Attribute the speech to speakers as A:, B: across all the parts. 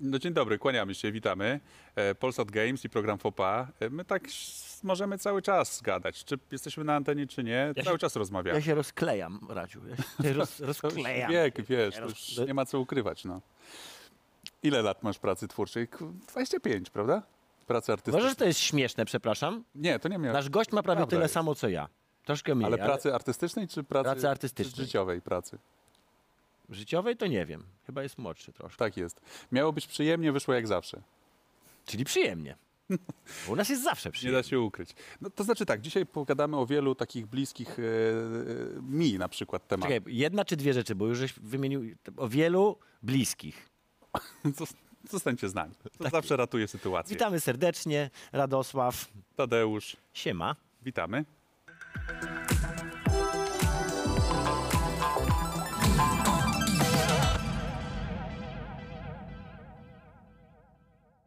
A: No dzień dobry, kłaniamy się, witamy. E, Polsat Games i program FOPA. E, My tak s- możemy cały czas gadać, czy jesteśmy na antenie, czy nie.
B: Ja
A: cały
B: się-
A: czas rozmawiamy.
B: Ja się rozklejam, Radziu. Ja się roz,
A: To już
B: rozklejam.
A: Wiek, wiesz,
B: Ja
A: to
B: roz-
A: już nie ma co ukrywać. No. Ile lat masz pracy twórczej? Ku- 25, prawda? Pracy
B: Uważasz, że
A: artystycznej.
B: to jest śmieszne, przepraszam?
A: Nie, to nie miałem.
B: Nasz gość ma prawie
A: Prawda
B: tyle
A: jest.
B: samo, co ja. Troszkę mniej,
A: Ale
B: ale,
A: pracy artystycznej czy pracy,
B: Pracy artystycznej.
A: czy życiowej pracy?
B: życiowej to nie wiem. Chyba jest młodszy troszkę.
A: Tak jest. Miało być przyjemnie, wyszło jak zawsze.
B: Czyli przyjemnie. Bo u nas jest zawsze
A: Nie
B: przyjemnie.
A: da się ukryć. No, to znaczy tak, dzisiaj pogadamy o wielu takich bliskich e, e, mi na przykład tematach.
B: Czekaj, jedna czy dwie rzeczy, bo już żeś wymienił o wielu bliskich.
A: Zos- Zostańcie z nami. To zawsze ratuje sytuację.
B: Witamy serdecznie, Radosław.
A: Tadeusz,
B: Siema.
A: witamy.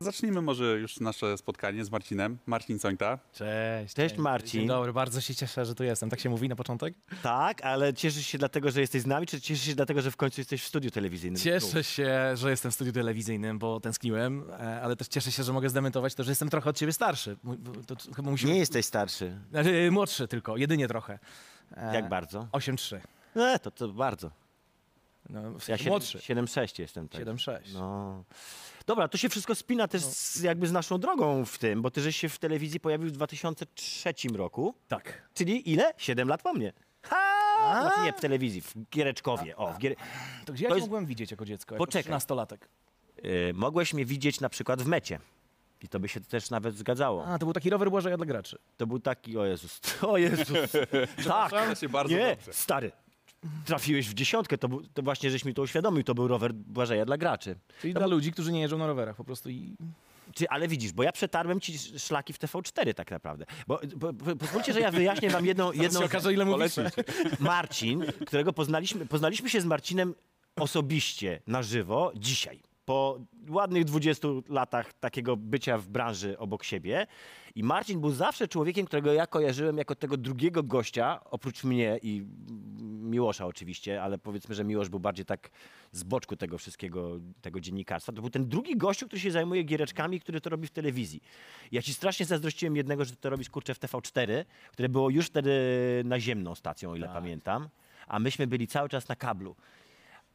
A: Zacznijmy może już nasze spotkanie z Marcinem. Marcin Sońta.
C: Cześć.
B: Cześć, Marcin.
C: Dzień dobry, bardzo się cieszę, że tu jestem. Tak się mówi na początek?
B: Tak, ale cieszysz się dlatego, że jesteś z nami, czy cieszysz się dlatego, że w końcu jesteś w studiu telewizyjnym?
C: Cieszę się, że jestem w studiu telewizyjnym, bo tęskniłem, e, ale też cieszę się, że mogę zdementować to, że jestem trochę od ciebie starszy. Mu- bo To t- chyba musimy...
B: Nie jesteś starszy.
C: Znaczy, młodszy tylko, jedynie trochę. E,
A: Tak.
B: Jak bardzo?
C: 8-3.
B: E, to, to bardzo.
C: No, w sensie
B: Ja
C: młodszy.
B: 7-6 jestem. Tak.
C: 7-6.
B: No. Dobra, to się wszystko spina też
A: No.
B: z, jakby z naszą drogą w tym, bo ty żeś się w telewizji pojawił w 2003 roku,
C: Tak.
B: czyli ile? 7 lat po mnie. Ha! Znaczy nie, w telewizji, w Giereczkowie. O, w gier...
C: To gdzie ja
B: To
C: cię
B: jest-
C: mogłem widzieć jako dziecko, jako
B: Poczekaj.
C: 13-latek?
B: Y, mogłeś mnie widzieć na przykład w mecie. I to by się też nawet zgadzało.
C: A, to był taki rower Błażeja dla graczy.
B: To był taki, o Jezus, o Jezus. tak,
A: Przepraszam się bardzo
B: nie,
A: dobrze.
B: stary. Trafiłeś w dziesiątkę, to, był- to właśnie żeś mi to uświadomił, to był rower Błażeja dla graczy.
C: Czyli dla ludzi, którzy nie jeżdżą na rowerach po prostu i...
B: Czy, ale widzisz, bo ja przetarłem ci sz- szlaki w TV4 tak naprawdę. Bo, bo, bo, pozwólcie, że ja wyjaśnię wam jedną... jedną
C: Jedno... się okaże, ile mówisz.
A: Polecił cię.
B: Marcin, którego poznaliśmy, poznaliśmy się z Marcinem osobiście, na żywo, dzisiaj. Po ładnych 20 latach takiego bycia w branży obok siebie. I Marcin był zawsze człowiekiem, którego ja kojarzyłem jako tego drugiego gościa, oprócz mnie i Miłosza oczywiście, ale powiedzmy, że Miłosz był bardziej tak z boczku tego wszystkiego, tego dziennikarstwa. To był ten drugi gościu, który się zajmuje giereczkami, który to robi w telewizji. Ja ci strasznie zazdrościłem jednego, że ty to robisz, kurczę, w TV4, które było już wtedy naziemną stacją, o
C: Tak.
B: ile pamiętam, a myśmy byli cały czas na kablu.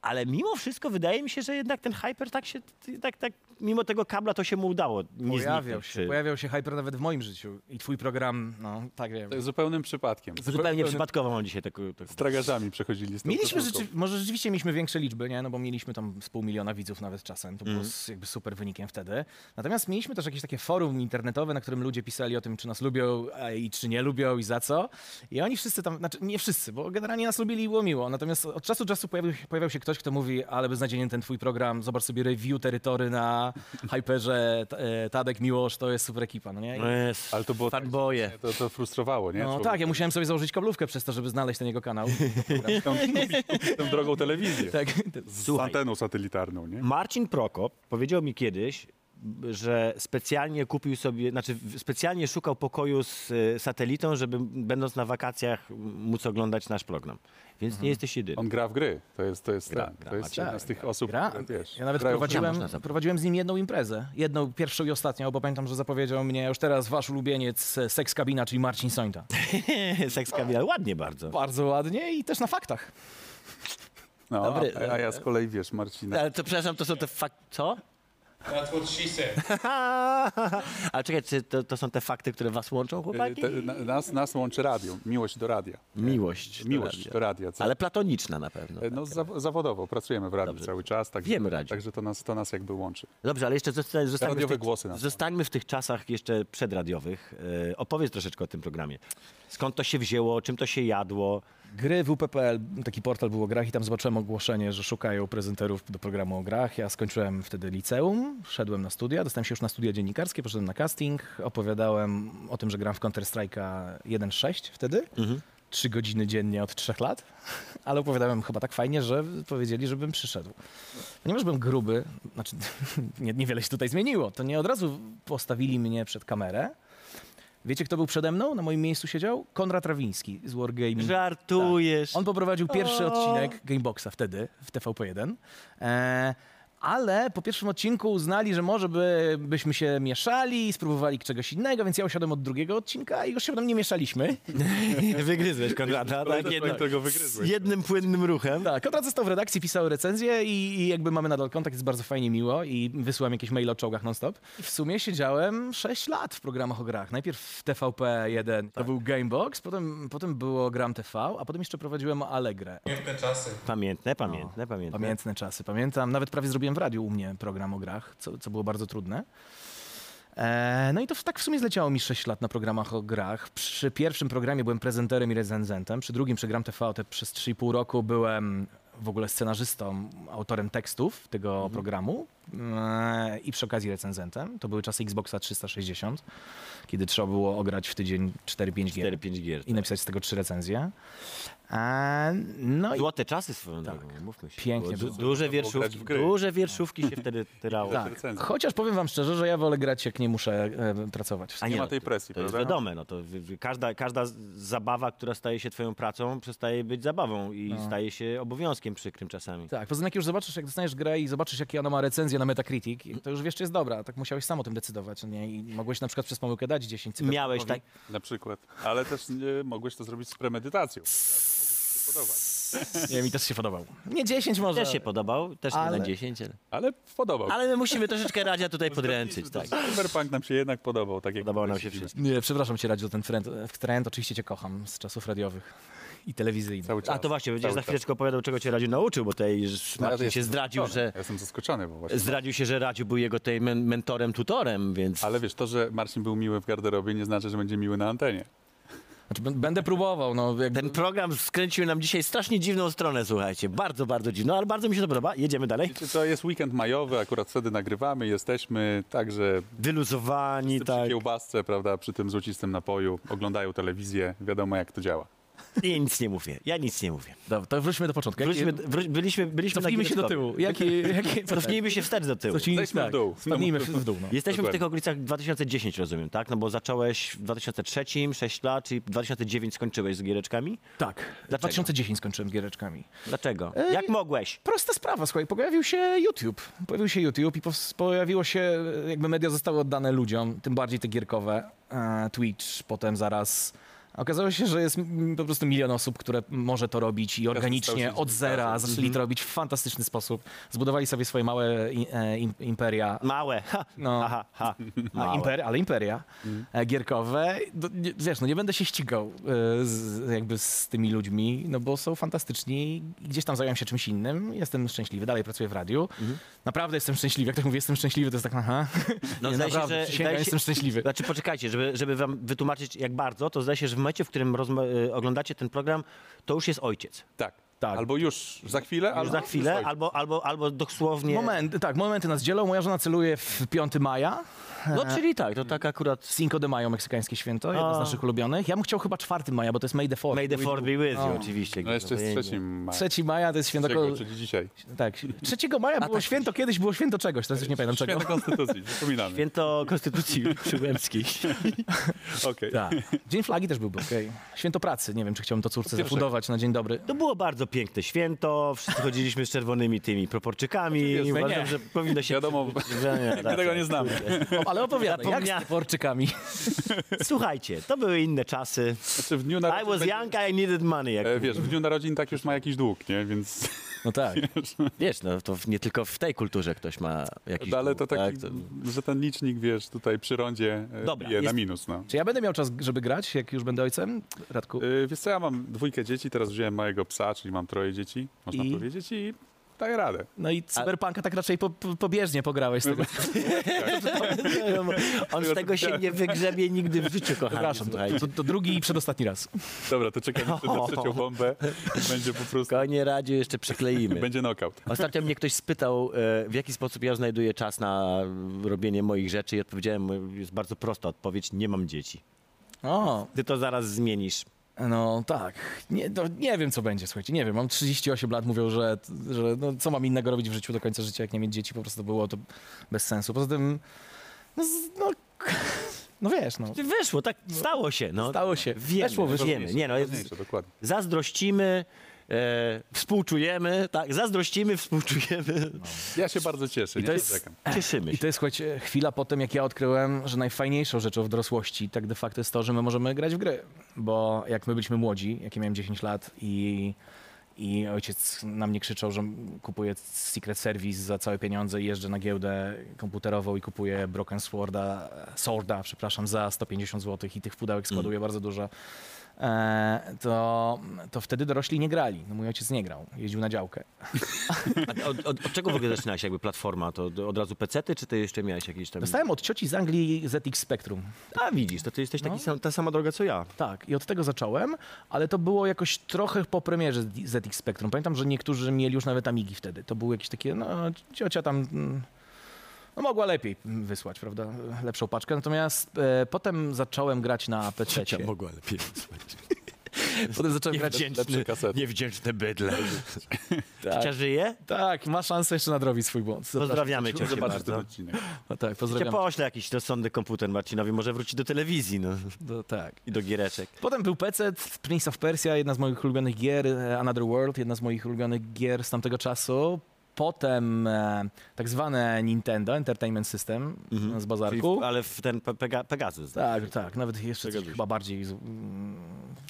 B: Ale mimo wszystko wydaje mi się, że jednak ten hyper tak się, tak, tak, mimo tego kabla to się mu udało. Nie zniknął,
C: Pojawiał się,
B: czy-
C: pojawiał się hyper nawet w moim życiu. I twój program, no, tak wiem.
A: Tak, Zupełnym przypadkiem.
B: Zupełnie przypadkowo mam dzisiaj tak- taką... taką-
A: Z tragarzami przechodzili. z tą
C: Mieliśmy
A: koszulką.
C: rzeczy, może rzeczywiście mieliśmy większe liczby, nie? No bo mieliśmy tam z pół miliona widzów nawet czasem. To było s- jakby super wynikiem wtedy. Natomiast mieliśmy też jakieś takie forum internetowe, na którym ludzie pisali o tym, czy nas lubią a i czy nie lubią i za co. I oni wszyscy tam, znaczy nie wszyscy, bo generalnie nas lubili i było miło. Natomiast od czasu do czasu pojawił się, pojawiał się ktoś, kto mówi, ale beznadziejnie ten twój program, zobacz sobie review terytory na Hyperze, T- e, Tadek, Miłosz, to jest super ekipa, no nie? I,
B: No jest,
A: Ale to było tak,
B: fanboje.
A: to, to frustrowało, nie?
C: no
A: Człowiek-
C: tak, ja musiałem sobie założyć kablówkę przez to, żeby znaleźć ten jego kanał.
A: Tam, tą drogą telewizję.
C: tak,
A: Z
B: Słuchaj.
A: anteną satelitarną, nie?
B: Marcin Prokop powiedział mi kiedyś, że specjalnie kupił sobie, znaczy specjalnie szukał pokoju z y, satelitą, żeby będąc na wakacjach móc oglądać nasz program. Więc nie jesteś jedyny.
A: On gra w gry. To jest, to jest,
B: Gra,
A: tak,
B: gra,
A: to jest
B: Maciej.
A: jedna z tych osób,
C: Gra?
A: które, No wiesz,
C: Ja nawet
A: grają w
C: prowadziłem,
B: można zabrać.
C: prowadziłem z nim jedną imprezę. Jedną, pierwszą i ostatnią, bo pamiętam, że zapowiedział mnie już teraz wasz ulubieniec e, Seks Kabina, czyli Marcin Sońta.
B: Seks kawiar, ładnie bardzo.
C: Bardzo ładnie i też na faktach.
A: No, a-
B: Dobry. e, tak.
A: a ja z kolei, wiesz, Marcina.
B: Ale to przepraszam, to są te fakty. Co?
D: That's what she said.
B: Ale czekaj, czy to, to są te fakty, które was łączą,
A: Y,
B: chłopaki?
A: Te, na- nas, nas łączy radio, miłość do radia.
B: Miłość. do
A: Miłość
B: radia.
A: do radia. Co?
B: Ale platoniczna na pewno.
A: E, No, zaw- zawodowo pracujemy w radiu
B: Dobrze.
A: cały czas. Także,
B: Wiemy radio.
A: Także to nas, to nas jakby łączy.
B: Dobrze, ale jeszcze zosta- zostańmy w,
A: Radiowe
B: tych,
A: głosy na to.
B: zostańmy w tych czasach jeszcze przedradiowych. E, opowiedz troszeczkę o tym programie. Skąd to się wzięło, czym to się jadło?
C: Gry WP.pl, taki portal był o grach i tam zobaczyłem ogłoszenie, że szukają prezenterów do programu o grach. Ja skończyłem wtedy liceum, szedłem na studia, dostałem się już na studia dziennikarskie, poszedłem na casting, opowiadałem o tym, że gram w Counter-Strike'a 1.6 wtedy. trzy godziny dziennie od trzech lat, ale opowiadałem chyba tak fajnie, że powiedzieli, żebym przyszedł. Ponieważ byłem gruby, znaczy nie, niewiele się tutaj zmieniło, to nie od razu postawili mnie przed kamerę. Wiecie, kto był przede mną? Na moim miejscu siedział? Konrad Rawiński z
A: Mm.
C: Wargaming.
A: Tak.
B: Żartujesz.
C: On poprowadził pierwszy
B: O.
C: odcinek Gameboxa wtedy, w TVP1. E, ale po pierwszym odcinku uznali, że może by, byśmy się mieszali, spróbowali czegoś innego, więc ja usiadłem od drugiego odcinka i już się potem nie mieszaliśmy.
B: Wygryzłeś Konrada, tak? Jedno,
A: Tego
B: z
A: wygryzłeś.
B: jednym płynnym ruchem.
C: Tak, Konrad został w redakcji, pisał recenzję i, i jakby mamy nadal kontakt, jest bardzo fajnie miło i wysyłam jakieś maile o czołgach non-stop. I w sumie siedziałem 6 lat w programach o grach. Najpierw w TVP1 to był Gamebox, potem, potem było Gram TV, a potem jeszcze prowadziłem Allegrę.
D: Piękne czasy.
B: Pamiętne,
A: No.
B: pamiętne, pamiętne.
C: Pamiętne czasy, pamiętam. Nawet prawie zrobiłem w radiu u mnie program o grach, co, co było bardzo trudne. E, no i to w, tak w sumie zleciało mi 6 lat na programach o grach. Przy pierwszym programie byłem prezenterem i recenzentem, przy drugim, przy Gram TV, te przez 3,5 roku byłem w ogóle scenarzystą, autorem tekstów tego programu e, i przy okazji recenzentem. To były czasy Xboxa 360, kiedy trzeba było ograć w tydzień 4-5 gier
B: 4-5 gier.
A: tak.
C: i napisać z tego trzy recenzje. E, no i
B: Złote czasy swoją
A: tak.
B: drogą, mówmy się.
C: Pięknie
B: Było
C: było.
B: Du duże,
A: Można było grać
B: wierszówki,
A: w gry.
B: duże wierszówki się wtedy tyrało.
A: Tak.
C: Tak.
A: recenzji.
C: Chociaż powiem wam szczerze, że ja wolę grać, jak nie muszę e, pracować. W
B: A
A: Nie ma
B: no,
A: tej
B: to-
A: presji,
B: To jest
A: prawda?
B: wiadome, no to wy- wy- każda, każda z- zabawa, która staje się twoją pracą, przestaje być zabawą i staje się obowiązkiem przykrym czasami.
C: tak, poza tym jak już zobaczysz, jak dostaniesz grę i zobaczysz, jakie ona ma recenzję na Metacritic, to już wiesz, czy jest dobra. Tak musiałeś sam o tym decydować. no Nie? I mogłeś na przykład przez pomyłkę dać 10 cyferkowi.
B: Miałeś tak,
A: Na przykład. Ale też nie, mogłeś to zrobić z premedytacją. Podobać.
C: Nie, mi też się podobał. Nie 10 może.
B: też się podobał, też
C: Ale-
B: nie na 10, ale...
A: Ale podobał.
B: Ale my musimy troszeczkę Radzia tutaj podręczyć, tak.
A: Cyberpunk nam się jednak podobał. Tak jak
B: Podobało nam się
A: myśleliśmy.
B: wszystko.
C: nie, przepraszam cię, Radziu, za ten trend. trend. Oczywiście cię kocham z czasów radiowych i telewizyjnych.
A: Cały czas.
B: A to właśnie, będziesz
A: Cały
B: za
A: czas.
B: chwileczkę opowiadał, czego cię Radziu nauczył, bo tutaj Marcin się zdradził, że...
A: Ja jestem zaskoczony, bo właśnie.
B: Zdradził się, że Radziu był jego tutaj men- mentorem, tutorem, więc...
A: Ale wiesz, to, że Marcin był miły w garderobie, nie znaczy, że będzie miły na antenie.
C: Znaczy, b- będę próbował. No, jakby...
B: Ten program skręcił nam dzisiaj strasznie dziwną stronę, słuchajcie. Bardzo, bardzo dziwną, ale bardzo mi się to podoba. Jedziemy dalej.
A: Wiecie, to jest weekend majowy, akurat wtedy nagrywamy, jesteśmy, także
B: Wyluzowani,
A: przy
B: tak.
A: kiełbasce, prawda, przy tym złocistym napoju, oglądają telewizję, wiadomo jak to działa.
B: Ja nic nie mówię. Ja nic nie mówię.
C: Dobra, to wróćmy do początku. Jakie-
B: Wróćmy, wróć, byliśmy, byliśmy na
C: Cofnijmy się do
B: Giereczkowie.
C: tyłu. Jakie, jakie...
B: Cofnijmy się wstecz do tyłu.
C: Cofnijmy
A: Zejdźmy w dół.
C: Spadnijmy w dół. No.
B: Jesteśmy w
A: Dokładnie.
B: tych okolicach 2010, rozumiem, tak? No bo zacząłeś w 2003, 6 lat, czyli 2009 skończyłeś z giereczkami.
C: Tak. 2010 skończyłem z giereczkami.
B: Dlaczego? Jak mogłeś?
C: Prosta sprawa, słuchaj, pojawił się YouTube. Pojawił się YouTube i pos- pojawiło się, e, jakby media zostały oddane ludziom, tym bardziej te gierkowe, e, Twitch, potem zaraz. A Okazało się, że jest mm, po prostu milion osób, które może to robić i
A: stały
C: organicznie
A: się
C: od zera
A: dziennikarzem.
C: zaczęli to robić w fantastyczny sposób. Zbudowali sobie swoje małe i- e, im, imperia.
B: Małe. Ha.
C: No.
B: Mm. Aha, ha.
C: A,
B: Małe. Mhm.
C: imper, ale imperia e, gierkowe. Do, nie, wiesz, no nie będę się ścigał e, z, jakby z tymi ludźmi, no bo są fantastyczni. Gdzieś tam zająłem się czymś innym. Jestem szczęśliwy, dalej pracuję w radiu.
B: Mhm.
C: Naprawdę jestem szczęśliwy. Jak ktoś mówi, jestem szczęśliwy, to jest tak, aha.
B: No,
C: nie,
B: zdaje się,
C: naprawdę,
B: że-
C: przysięgam,
B: zdaje się-
C: jestem szczęśliwy.
B: Znaczy poczekajcie, żeby, żeby wam wytłumaczyć jak bardzo, to zdaje się, że w momencie, w którym rozma- y, oglądacie ten program, to już jest ojciec.
A: Tak.
C: Tak.
A: Albo już za chwilę,
B: Już
A: albo
B: za chwilę,
A: już
B: albo, albo, albo dosłownie...
C: Moment, tak, momenty nas dzielą. Moja żona celuje w 5 maja. E,
B: No czyli tak, to tak akurat
C: Cinco de Mayo, meksykańskie święto, jedno
B: A.
C: z naszych ulubionych. Ja bym chciał chyba 4 maja, bo to jest May the 4th.
B: May the Fourth be with you,
C: No.
B: oczywiście.
A: No jeszcze jest trzecim maja.
C: 3 maja to jest święto...
A: Trzeciego, czyli dzisiaj.
C: Tak, 3 maja było święto kiedyś, było święto czegoś, teraz już nie pamiętam czego.
A: Święto Konstytucji, przypominamy.
B: Święto Konstytucji Przyłębskiej.
A: Okej.
C: Tak. Dzień flagi też byłby, okej. Święto pracy, nie wiem, czy chciałbym to córce zafundować na dzień dobry.
B: To było bardzo piękne święto, wszyscy chodziliśmy z czerwonymi tymi proporczykami.
C: Oczywiście,
B: Uważam,
C: nie.
B: że powinno się...
A: Wiadomo,
B: Nie,
A: my tego nie znamy.
C: No, Ale opowiadaj, jak
B: Zapomniałem.
C: z porczykami.
B: Słuchajcie, to były inne czasy.
A: Znaczy w dniu
B: I
A: narodzin
B: was
A: będzie-
B: young, I needed money. Jak,
A: E, Wiesz, w dniu narodzin tak już ma jakiś dług, nie? Więc...
C: No tak.
B: wiesz, no to w- nie tylko w tej kulturze ktoś ma jakiś...
A: No, ale to
B: dług,
A: taki,
B: tak, to-
A: że ten licznik, wiesz, tutaj przy rondzie e,
B: Dobra,
A: bije
B: jest-
A: na minus, no.
C: Czy ja będę miał czas, żeby grać, jak już będę ojcem? Radku.
A: Y, Wiesz co, ja mam dwójkę dzieci, teraz wziąłem małego psa, czyli mam troje dzieci, można
C: I?
A: powiedzieć, i daję radę.
C: No i cyberpunka tak raczej po, po, pobieżnie pograłeś. z Tego.
B: On z tego
A: tak.
B: się nie wygrzebie nigdy w życiu, kochani.
C: Przepraszam, to,
B: słuchajajcie.
C: to, to drugi i przedostatni raz.
A: Dobra, to czekam jeszcze na trzecią bombę, będzie po prostu,
B: Konie radzie jeszcze przykleimy.
A: będzie knockout.
B: Ostatnio mnie ktoś spytał, e, w jaki sposób ja znajduję czas na mm, robienie moich rzeczy i odpowiedziałem, e, jest bardzo prosta odpowiedź, nie mam dzieci.
C: O,
B: Ty to zaraz zmienisz.
C: No tak, nie, no, nie wiem co będzie, słuchajcie, nie wiem, mam 38 lat, mówią, że, że no, co mam innego robić w życiu do końca życia, jak nie mieć dzieci, po prostu było to bez sensu. Poza tym, no, z- no, no wiesz, no,
B: Wyszło, tak stało się. No.
C: stało się,
B: Wiemy,
C: weszło, wyszło.
B: wiemy. Nie, no, jest,
A: Ważniejsze, dokładnie.
B: zazdrościmy, e, współczujemy, tak, zazdrościmy, współczujemy,
A: Ja się bardzo cieszę.
C: I to
A: nie
C: jest-
A: narzekam.
B: cieszymy
C: I
B: się.
C: to jest, słuchajcie, chwila po tym, jak ja odkryłem, że najfajniejszą rzeczą w dorosłości tak de facto jest to, że my możemy grać w gry. Bo jak my byliśmy młodzi, jak ja miałem 10 lat i, i ojciec na mnie krzyczał, że kupuję Secret Service za całe pieniądze i jeżdżę na giełdę komputerową i kupuję Broken Sworda, Sworda, przepraszam, za 150 zł i tych pudełek składuję bardzo dużo. E, to, to wtedy dorośli nie grali. No, mój ojciec nie grał, jeździł na działkę.
B: A Od, od, od czego w ogóle zaczynałeś jakby platforma? To d- od razu pecety, czy ty jeszcze miałeś jakieś tam...
C: Dostałem od cioci z Anglii ZX Spectrum.
B: A widzisz, to ty jesteś taki sam, ta sama droga co ja.
C: Tak, i od tego zacząłem, ale to było jakoś trochę po premierze ZX Spectrum. Pamiętam, że niektórzy mieli już nawet Amigi wtedy. To były jakieś takie, no ciocia tam mm, no, mogła lepiej wysłać, prawda, lepszą paczkę. Natomiast e, potem zacząłem grać na PC.
B: mogła lepiej
C: Potem zacząłem grać...
A: lepsze kasety.
B: Niewdzięczne bydle. Ciocia
C: Tak,
B: żyje?
C: tak, ma szansę jeszcze nadrobić swój błąd. Zapraszam.
B: Pozdrawiamy ciocię
A: Zobaczysz ten
B: bardzo.
A: odcinek.
C: No, tak,
B: Cię
C: pozdrawiam.
B: pośle jakiś rozsądny komputer Marcinowi, może wróci do telewizji, no.
C: No, tak.
B: I do giereczek.
C: Potem był PC, Prince of Persia, jedna z moich ulubionych gier, e, Another World, jedna z moich ulubionych gier z tamtego czasu. Potem e, tak zwane Nintendo Entertainment System
A: Mhm.
C: e, z
B: Mhm. Czyli
C: bazarku.
B: w, ale w ten Pe- Pega, Pegasus.
C: Tak, tak, nawet jeszcze coś,
B: Zgadza się.
C: chyba bardziej. z- mm,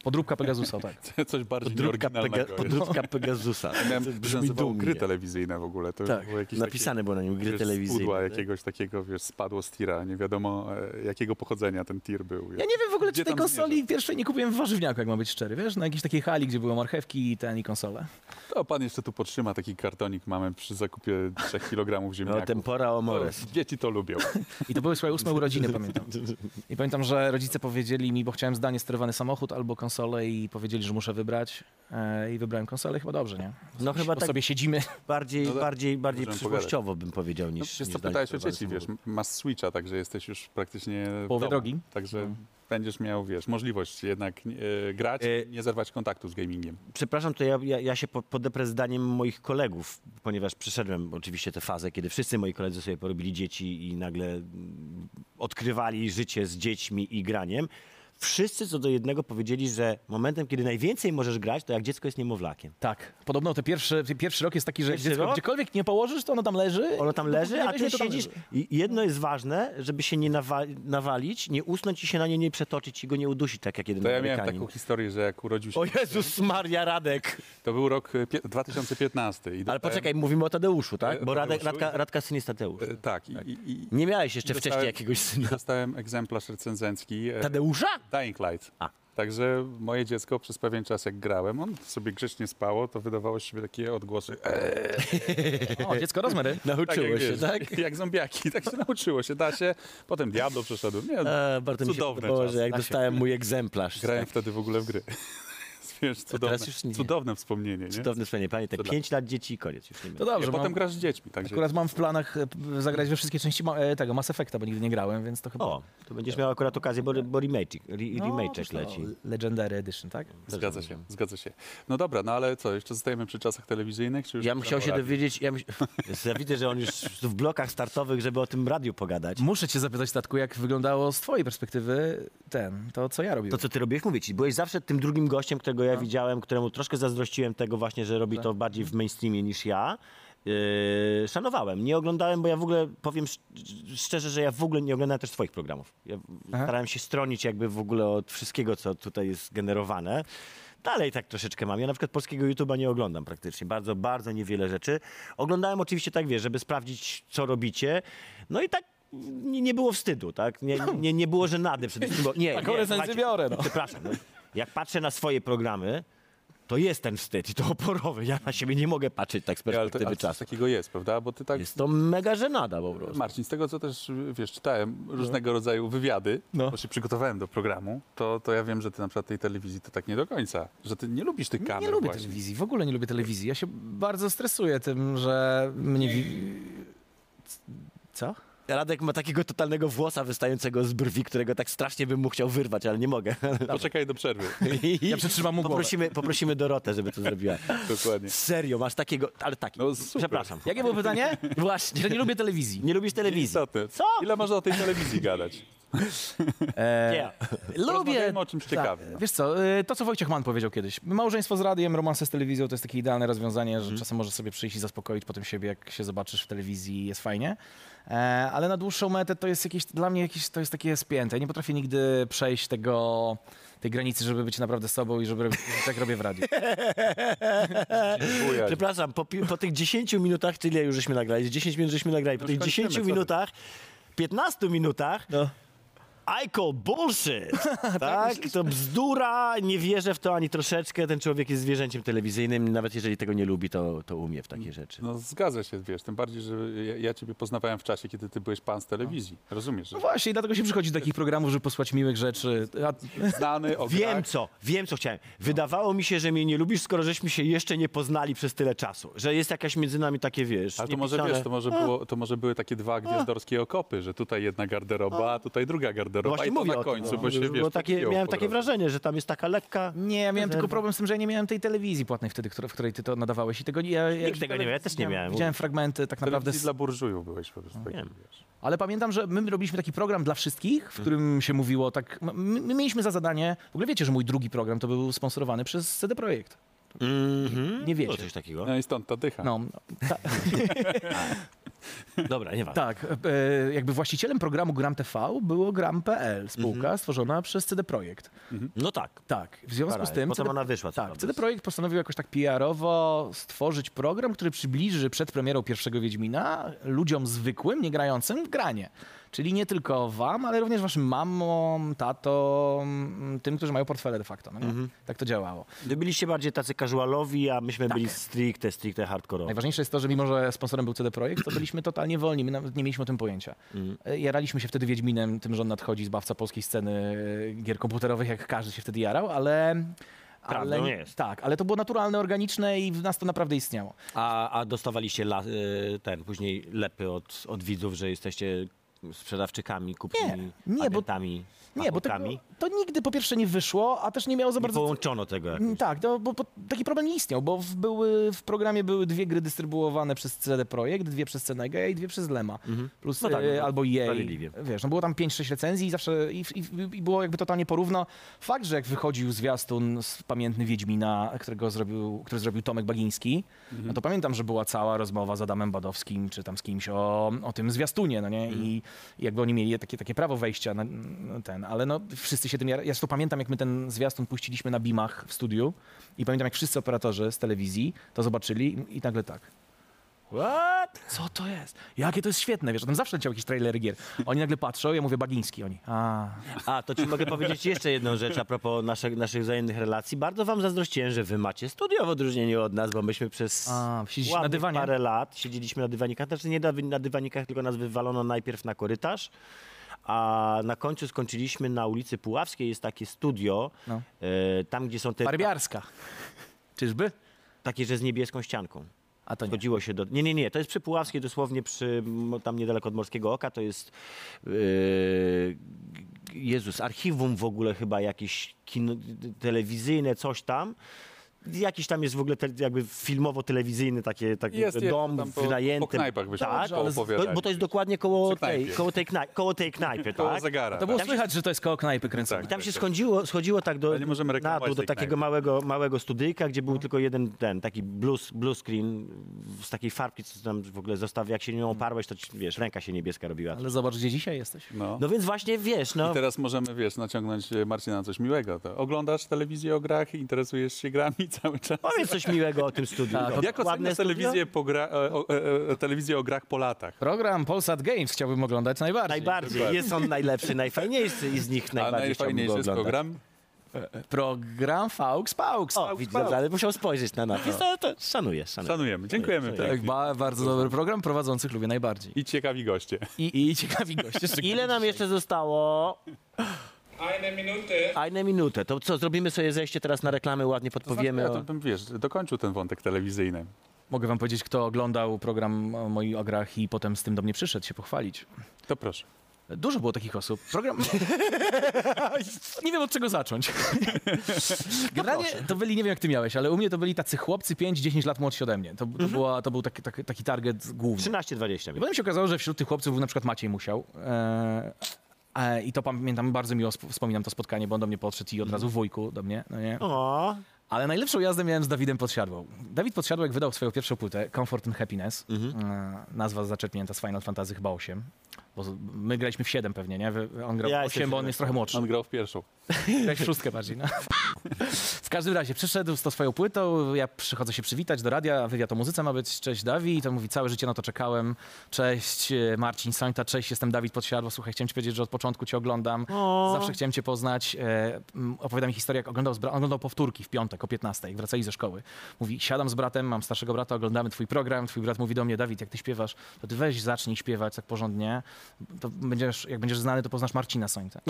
C: Podróbka Pegasusa, tak.
A: Coś bardziej
B: Podróbka, Pega,
A: nieoryginalnego. jest.
B: podróbka Pegasusa.
A: Miałem
B: Brzmi
A: nazywał
B: dumnie.
A: gry telewizyjne w ogóle. To już
C: Tak,
A: było jakieś
B: Napisane było na nim
A: takie,
B: gry
A: wiesz, Z pudła
B: telewizyjne.
A: jakiegoś takiego, wiesz, spadło z tira. Nie wiadomo, e, jakiego pochodzenia ten tir był.
C: Ja nie wiem w ogóle,
A: Gdzie
C: czy tej
A: tam
C: konsoli pierwszej nie kupiłem w warzywniaku, jak mam być szczery, wiesz? Na jakiejś takiej hali, gdzie były marchewki i ten i konsole.
A: To pan jeszcze tu podtrzyma taki kartonik mamy przy zakupie 3 kg ziemniaków.
B: No, tempora
A: To
B: omores.
A: Dzieci to lubią.
C: I to były swoje ósme urodziny, pamiętam. I pamiętam, że rodzice powiedzieli mi, bo chciałem zdalnie sterowany samochód albo konsolę i powiedzieli, że muszę wybrać. E, I wybrałem konsolę, chyba dobrze, nie?
B: No chyba
C: bo
B: tak
C: sobie siedzimy.
B: bardziej,
A: No tak,
B: bardziej, bardziej
A: możemy
B: przyszłościowo bym powiedział
A: No,
B: niż...
A: przecież
B: niż
A: co pytałeś o
B: zdanie
A: dzieci, wiesz,
B: prowadzone.
A: masz Switcha, także jesteś już praktycznie w
C: Połowę
A: domu.
C: drogi.
A: Także będziesz miał, wiesz, możliwość jednak No. e, grać,
B: E,
A: i nie zerwać kontaktu z gamingiem.
B: Przepraszam, to ja, ja, ja się po- podeprę zdaniem moich kolegów, ponieważ przeszedłem oczywiście tę fazę, kiedy wszyscy moi koledzy sobie porobili dzieci i nagle mm, odkrywali życie z dziećmi i graniem. Wszyscy co do jednego powiedzieli, że momentem, kiedy najwięcej możesz grać, to jak dziecko jest niemowlakiem.
C: Tak. Podobno te pierwsze, te pierwszy rok jest taki, że jak
B: Pierwszy
C: dziecko
B: rok?
C: gdziekolwiek nie położysz, to ono tam leży. No
B: Ono tam leży, a
C: Weźmie,
B: ty
C: to tam
B: siedzisz.
C: leży.
B: I jedno jest ważne, żeby się nie nawa- nawalić, nie usnąć i się na nie nie przetoczyć i go nie udusić, tak jak jeden
A: To ja miałem
B: Amerykanin.
A: taką historię, że jak urodził się,
B: O Jezus Maria Radek!
A: to był rok e, pie- 2015. i
B: Ale
A: dostałem-
B: poczekaj, mówimy o Tadeuszu, tak? Bo Radek,
A: Tadeuszu
B: Radka,
A: i-
B: Radka syn jest Tadeusz.
A: e, Tak, i, i, i
B: Nie miałeś jeszcze
A: Dostałem-
B: wcześniej jakiegoś
A: Tak.
B: syna.
A: dostałem egzemplarz recenzencki e,
B: Tadeusza?
A: Dying Light.
B: A.
A: Także moje dziecko przez pewien czas, jak grałem, on sobie grzecznie spało, to wydawało się takie odgłosy. "E,
C: O, dziecko rozmery.
B: Nauczyło
A: jak,
B: E, się,
A: wiesz,
B: tak?
A: Jak zombiaki, tak się nauczyło się, da się. Potem Diablo przeszedłem. Nie,
B: E, bardzo mi się
A: Cudowny
B: podobało,
A: czas,
B: że jak
A: da się.
B: dostałem mój egzemplarz.
A: grałem
B: Tak,
A: wtedy w ogóle w gry. Wiesz, cudowne,
B: teraz już nie.
A: cudowne wspomnienie, nie?
B: cudowne wspomnienie, panie, te
A: Cudowne.
B: 5 lat dzieci i koniec, już nie miałem.
C: To
A: I
C: dobrze.
A: potem
C: mam,
A: grasz z dziećmi, także
C: akurat mam w planach e, p- zagrać we wszystkie części ma, e, tego Mass Effecta, bo nigdy nie grałem, więc to chyba.
B: O, No, to będziesz miał akurat okazję, bo, bo remake, re, remake
C: to
B: leci.
C: Legendary Edition, tak?
A: zgadza się, zgadza się. No dobra, no ale co, jeszcze zostajemy przy czasach telewizyjnych? Czy już
B: Ja bym chciał się
A: Dobra,
B: dowiedzieć, ja, bym... się- ja widzę, że on już w blokach startowych, żeby o tym radiu pogadać.
C: Muszę cię zapytać, Tatku, jak wyglądało z twojej perspektywy ten, to co ja robiłem.
B: To, co ty robiłeś, mówię ci. Byłeś zawsze tym drugim gościem, którego ja widziałem, któremu troszkę zazdrościłem tego właśnie, że robi to bardziej w mainstreamie niż ja. Yy, szanowałem, nie oglądałem, bo ja w ogóle powiem szcz- szczerze, że ja w ogóle nie oglądałem też swoich programów. Ja
C: Aha.
B: starałem się stronić jakby w ogóle od wszystkiego, co tutaj jest generowane. Dalej tak troszeczkę mam. Ja na przykład polskiego YouTube'a nie oglądam praktycznie. Bardzo, bardzo niewiele rzeczy. Oglądałem oczywiście tak, wiesz, żeby sprawdzić, co robicie. No i tak nie, nie było wstydu, tak? Nie, nie, nie było żenady przed tym, bo nie,
C: Taką
B: nie,
C: recenzję
B: słuchajcie,
C: biorę, no.
B: Przepraszam. No. Jak patrzę na swoje programy, to jest ten wstyd i to oporowy. Ja na siebie nie mogę patrzeć tak z
A: Nie, ale to,
B: perspektywy
A: ale coś
B: czasu.
A: takiego jest, prawda? Bo ty tak,
B: Jest to mega żenada po prostu.
A: Marcin, z tego co też, wiesz, czytałem różnego rodzaju wywiady,
C: No.
A: bo się przygotowałem do programu, to, to ja wiem, że ty na przykład tej telewizji to tak nie do końca, że ty nie lubisz tych kamer
C: Nie lubię
A: właśnie.
C: telewizji, w ogóle nie lubię telewizji. Ja się bardzo stresuję tym, że mnie. Wi... Co?
B: Radek ma takiego totalnego włosa wystającego z brwi, którego tak strasznie bym mu chciał wyrwać, ale nie mogę.
A: Poczekaj do przerwy.
C: Ja przytrzymam mu głowę.
B: poprosimy, poprosimy Dorotę, żeby to zrobiła.
A: Dokładnie.
B: Serio, masz takiego, ale taki.
A: No, super.
B: Przepraszam.
C: Jakie było pytanie? Że
B: Właśnie.
C: nie lubię telewizji.
B: Nie lubisz telewizji.
A: Istotne.
B: Co?
A: Ile można o tej telewizji gadać?
B: Nie.
A: Porozmawiajmy
C: E, Lubię.
A: o czymś ciekawym.
C: Wiesz co, y, to co Wojciech Mann powiedział kiedyś. Małżeństwo z radiem, romanse z telewizją to jest takie idealne rozwiązanie, że czasem możesz sobie przyjść i zaspokoić potem siebie, jak się zobaczysz w telewizji, jest fajnie. E, Ale na dłuższą metę to jest jakieś, dla mnie jakieś, to jest takie spięte. Ja nie potrafię nigdy przejść tego, tej granicy, żeby być naprawdę sobą i żeby robić, tak robię w radiu.
A: Bujać.
B: Przepraszam, po, pi- po tych 10 minutach, tyle już żeśmy nagrali, 10 minut żeśmy nagrali, po
A: No
B: tych
A: już kończymy,
B: 10
A: co No. ty?
B: minutach, 15 minutach, I call bullshit, tak? To bzdura, nie wierzę w to ani troszeczkę, ten człowiek jest zwierzęciem telewizyjnym, nawet jeżeli tego nie lubi, to, to umie w takie rzeczy.
A: No zgadza się, wiesz, tym bardziej, że ja, ja ciebie poznawałem w czasie, kiedy ty byłeś pan z telewizji. Rozumiesz, że
C: No właśnie, i dlatego się przychodzi do takich programów, żeby posłać miłych rzeczy. A,
A: znany, o
B: Wiem
A: grach.
B: co, wiem co chciałem. Wydawało mi się, że mnie nie lubisz, skoro żeśmy się jeszcze nie poznali przez tyle czasu. Że jest jakaś między nami takie, wiesz,
A: Ale to może, wiesz, to może, było, to może były takie dwa gwiazdorskie okopy, że tutaj jedna garderoba, a tutaj druga
B: No
A: garderoba
B: właśnie
A: i to
B: mówię
A: na
B: o tym,
A: końcu,
B: no.
A: bo się, wiesz,
B: Było takie,
A: popiją
B: Miałem
A: po
B: takie
A: drodze.
B: wrażenie, że tam jest taka lekka...
C: nie, ja miałem
B: Rezerwa.
C: tylko problem z tym, że ja nie miałem tej telewizji płatnej wtedy, która, w której ty to nadawałeś i tego nie... Ja, ja
B: Nikt tego nie miał, ja też nie miałem.
C: Widziałem fragmenty tak naprawdę
A: Telewizji
C: z
A: dla burżujów byłeś po prostu. taki,
B: wiem.
A: wiesz.
C: Ale pamiętam, że my robiliśmy taki program dla wszystkich, w którym się mówiło tak. m- My mieliśmy za zadanie. W ogóle wiecie, że mój drugi program to był sponsorowany przez CD Projekt.
B: Mhm.
C: Nie wiecie.
B: Było coś takiego.
A: No i stąd ta dycha.
C: No,
B: Dobra, nie warto.
C: tak. E, jakby właścicielem programu Gram TV było Gram.pl, spółka
B: Mhm.
C: stworzona przez CD Projekt.
B: No tak.
C: Tak. W związku z
B: Paralel.
C: tym.
B: Potem
C: CD
B: ona wyszła. co
C: Tak,
B: prawda.
C: CD Projekt postanowił jakoś tak PR-owo stworzyć program, który przybliży przed premierą pierwszego Wiedźmina ludziom zwykłym, nie grającym w granie. Czyli nie tylko wam, ale również waszym mamom, tatom, tym, którzy mają portfele de facto. No nie?
B: Mhm.
C: Tak to działało.
B: Wy byliście bardziej tacy casualowi, a myśmy byli stricte, stricte hardkorowi.
C: Najważniejsze jest to, że mimo, że sponsorem był CD Projekt, to byliśmy totalnie wolni. My nawet nie mieliśmy o tym pojęcia.
B: Mhm.
C: E, Jaraliśmy się wtedy Wiedźminem, tym, że on nadchodzi, zbawca polskiej sceny e, gier komputerowych, jak każdy się wtedy jarał, ale...
B: Prawdą jest.
C: Tak, ale to było naturalne, organiczne i w nas to naprawdę istniało.
B: A, a dostawaliście la, y, ten, później lepy od, od widzów, że jesteście sprzedawczykami, kupnymi
C: Nie, nie, bo-
B: agentami,
C: Nie, bo tego,
B: pachokami?
C: to nigdy po pierwsze nie wyszło, a też nie miało za
B: Nie
C: bardzo.
B: połączono tego jakoś.
C: Tak, no, bo, bo taki problem nie istniał, bo w, były, w programie były dwie gry dystrybuowane przez CD Projekt, dwie przez Senega i dwie przez Lema. Plus
B: No tak,
C: e,
B: no to
C: albo EA.
B: sprawiedliwie.
C: Wiesz, no było tam 5-6 recenzji i zawsze i, i, i było jakby totalnie porówno. Fakt, że jak wychodził zwiastun z pamiętny Wiedźmina, którego zrobił, który zrobił Tomek Bagiński,
B: Mhm.
C: no to pamiętam, że była cała rozmowa z Adamem Badowskim czy tam z kimś o, o tym zwiastunie, no nie?
B: Mhm.
C: I jakby oni mieli takie, takie prawo wejścia na na ten, ale no wszyscy się tym... jar- Ja to pamiętam, jak my ten zwiastun puściliśmy na Bimach w studiu i pamiętam, jak wszyscy operatorzy z telewizji to zobaczyli i- i nagle tak. What? Co to jest? Jakie to jest świetne, wiesz, tam zawsze leciał jakiś trailer gier. Oni nagle patrzą, ja mówię Bagiński, oni. A.
B: A, to ci mogę powiedzieć jeszcze jedną rzecz a propos naszych, naszych wzajemnych relacji. Bardzo wam zazdrościłem, że wy macie studio w odróżnieniu od nas, bo myśmy przez
C: A, siedzisz na
B: ładnych
C: dywanie.
B: parę lat siedzieliśmy na dywanikach. Znaczy nie na, wy- na dywanikach, tylko nas wywalono najpierw na korytarz, a na końcu skończyliśmy na ulicy Puławskiej. Jest takie studio,
C: No.
B: e, tam gdzie są te
C: Barbiarska. Czyżby?
B: takie, że z niebieską ścianką.
C: A to nie.
B: Chodziło się do. Nie, nie, nie. To jest przy Puławskiej, dosłownie przy. m, tam niedaleko od Morskiego Oka. To jest. Yy, g- Jezus, archiwum w ogóle chyba jakieś kino, d- telewizyjne, coś tam. Jakiś tam jest w ogóle te, jakby filmowo-telewizyjny takie, taki
A: Jest, jest,
B: dom
A: tam po-
B: wynajęty.
A: po knajpach byśmy
B: tak,
A: to opowiadali.
B: bo to jest dokładnie koło
A: Przy
B: tej,
A: knajpie.
B: koło tej, knaj, koło tej knajpy,
A: Koło
B: tak?
A: zegara.
C: To było
B: Tam się-
C: słychać, że to jest koło knajpy kręcone.
A: Tak.
B: I tam się schodziło, schodziło tak do,
A: Ale nie możemy
B: na
A: reklamować
B: dół, do
A: tej
B: takiego
A: knajpy.
B: małego, małego studyjka, gdzie był tylko jeden ten, taki blue, blue screen z takiej farbki, co tam w ogóle zostawia. Jak się nią oparłeś, to ci, wiesz, ręka się niebieska robiła.
C: Ale zobacz, gdzie dzisiaj jesteś.
A: No.
B: No więc właśnie, wiesz, no...
A: I teraz możemy, wiesz, naciągnąć e, Marcina na coś miłego. To oglądasz telewizję o grach, interesujesz się grami cały czas.
B: Powiedz coś miłego o tym studiu.
C: Tak,
B: No,
A: Jak oceniasz
B: studio?
A: telewizję, po gra, e, o, e, e, telewizję o grach po latach?
C: Program Polsat Games chciałbym oglądać najbardziej.
B: Najbardziej. Jest on najlepszy, najfajniejszy i z nich
A: A
B: najbardziej chciałbym
A: najfajniejszy
B: go
A: jest
B: oglądać.
A: program?
C: E, Program Faux Paux.
B: O, widzę, ale musiał spojrzeć na napis. No, to szanuję, szanuję.
A: Szanujemy, dziękujemy.
B: Szanuję.
A: Tak.
C: Tak, ba- bardzo dobry program, prowadzących lubię najbardziej.
A: I ciekawi goście.
C: I, i ciekawi goście. szczególnie
B: Ile nam
C: dzisiaj.
B: jeszcze zostało?
D: Eine Minute.
B: A na minutę. To co, zrobimy sobie zejście teraz na reklamy, ładnie podpowiemy
A: ja
B: o...
A: to bym, wiesz, dokończył ten wątek telewizyjny.
C: Mogę wam powiedzieć, kto oglądał program o moi o grach i potem z tym do mnie przyszedł się pochwalić.
A: To proszę.
C: Dużo było takich osób. Program... nie wiem, od czego zacząć. No Generalnie to byli, nie wiem jak ty miałeś, ale u mnie to byli tacy chłopcy 5-10 lat młodsi ode mnie. To, to, była, to był taki, taki, taki target główny.
B: 13-20.
C: I potem się okazało, że wśród tych chłopców był na przykład Maciej Musiał. E, e, I to pamiętam, bardzo miło sp- wspominam to spotkanie, bo on do mnie podszedł i od razu wujku do mnie. No nie?
B: O,
C: Ale najlepszą jazdę miałem z Dawidem Podsiadłą. Dawid Podsiadłek wydał swoją pierwszą płytę, Comfort and Happiness.
B: Mhm.
C: E, Nazwa zaczerpnięta z Final Fantasy chyba 8. Bo z- my graliśmy w 7 pewnie, nie? Wy- On grał
B: Ja
C: w
B: jestem
C: 8, bo on
B: siódemką.
C: jest trochę młodszy.
A: On grał w pierwszą.
C: Grałeś w szóstkę bardziej, no. W każdym razie przyszedł z tą swoją płytą, ja przychodzę się przywitać do radia, wywiad o muzyce ma być, cześć Dawi, i to mówi całe życie na to czekałem, cześć e, Marcin Sońta, cześć, jestem Dawid Podsiadło, słuchaj, chciałem ci powiedzieć, że od początku cię oglądam, zawsze chciałem cię poznać, e, m, opowiada mi historię, jak oglądał, z bra- oglądał powtórki w piątek o 15, jak wracali ze szkoły. Mówi, siadam z bratem, mam starszego brata, oglądamy twój program, twój brat mówi do mnie, Dawid, jak ty śpiewasz, to ty weź zacznij śpiewać tak porządnie, to będziesz, jak będziesz znany, to poznasz Marcina Sońta.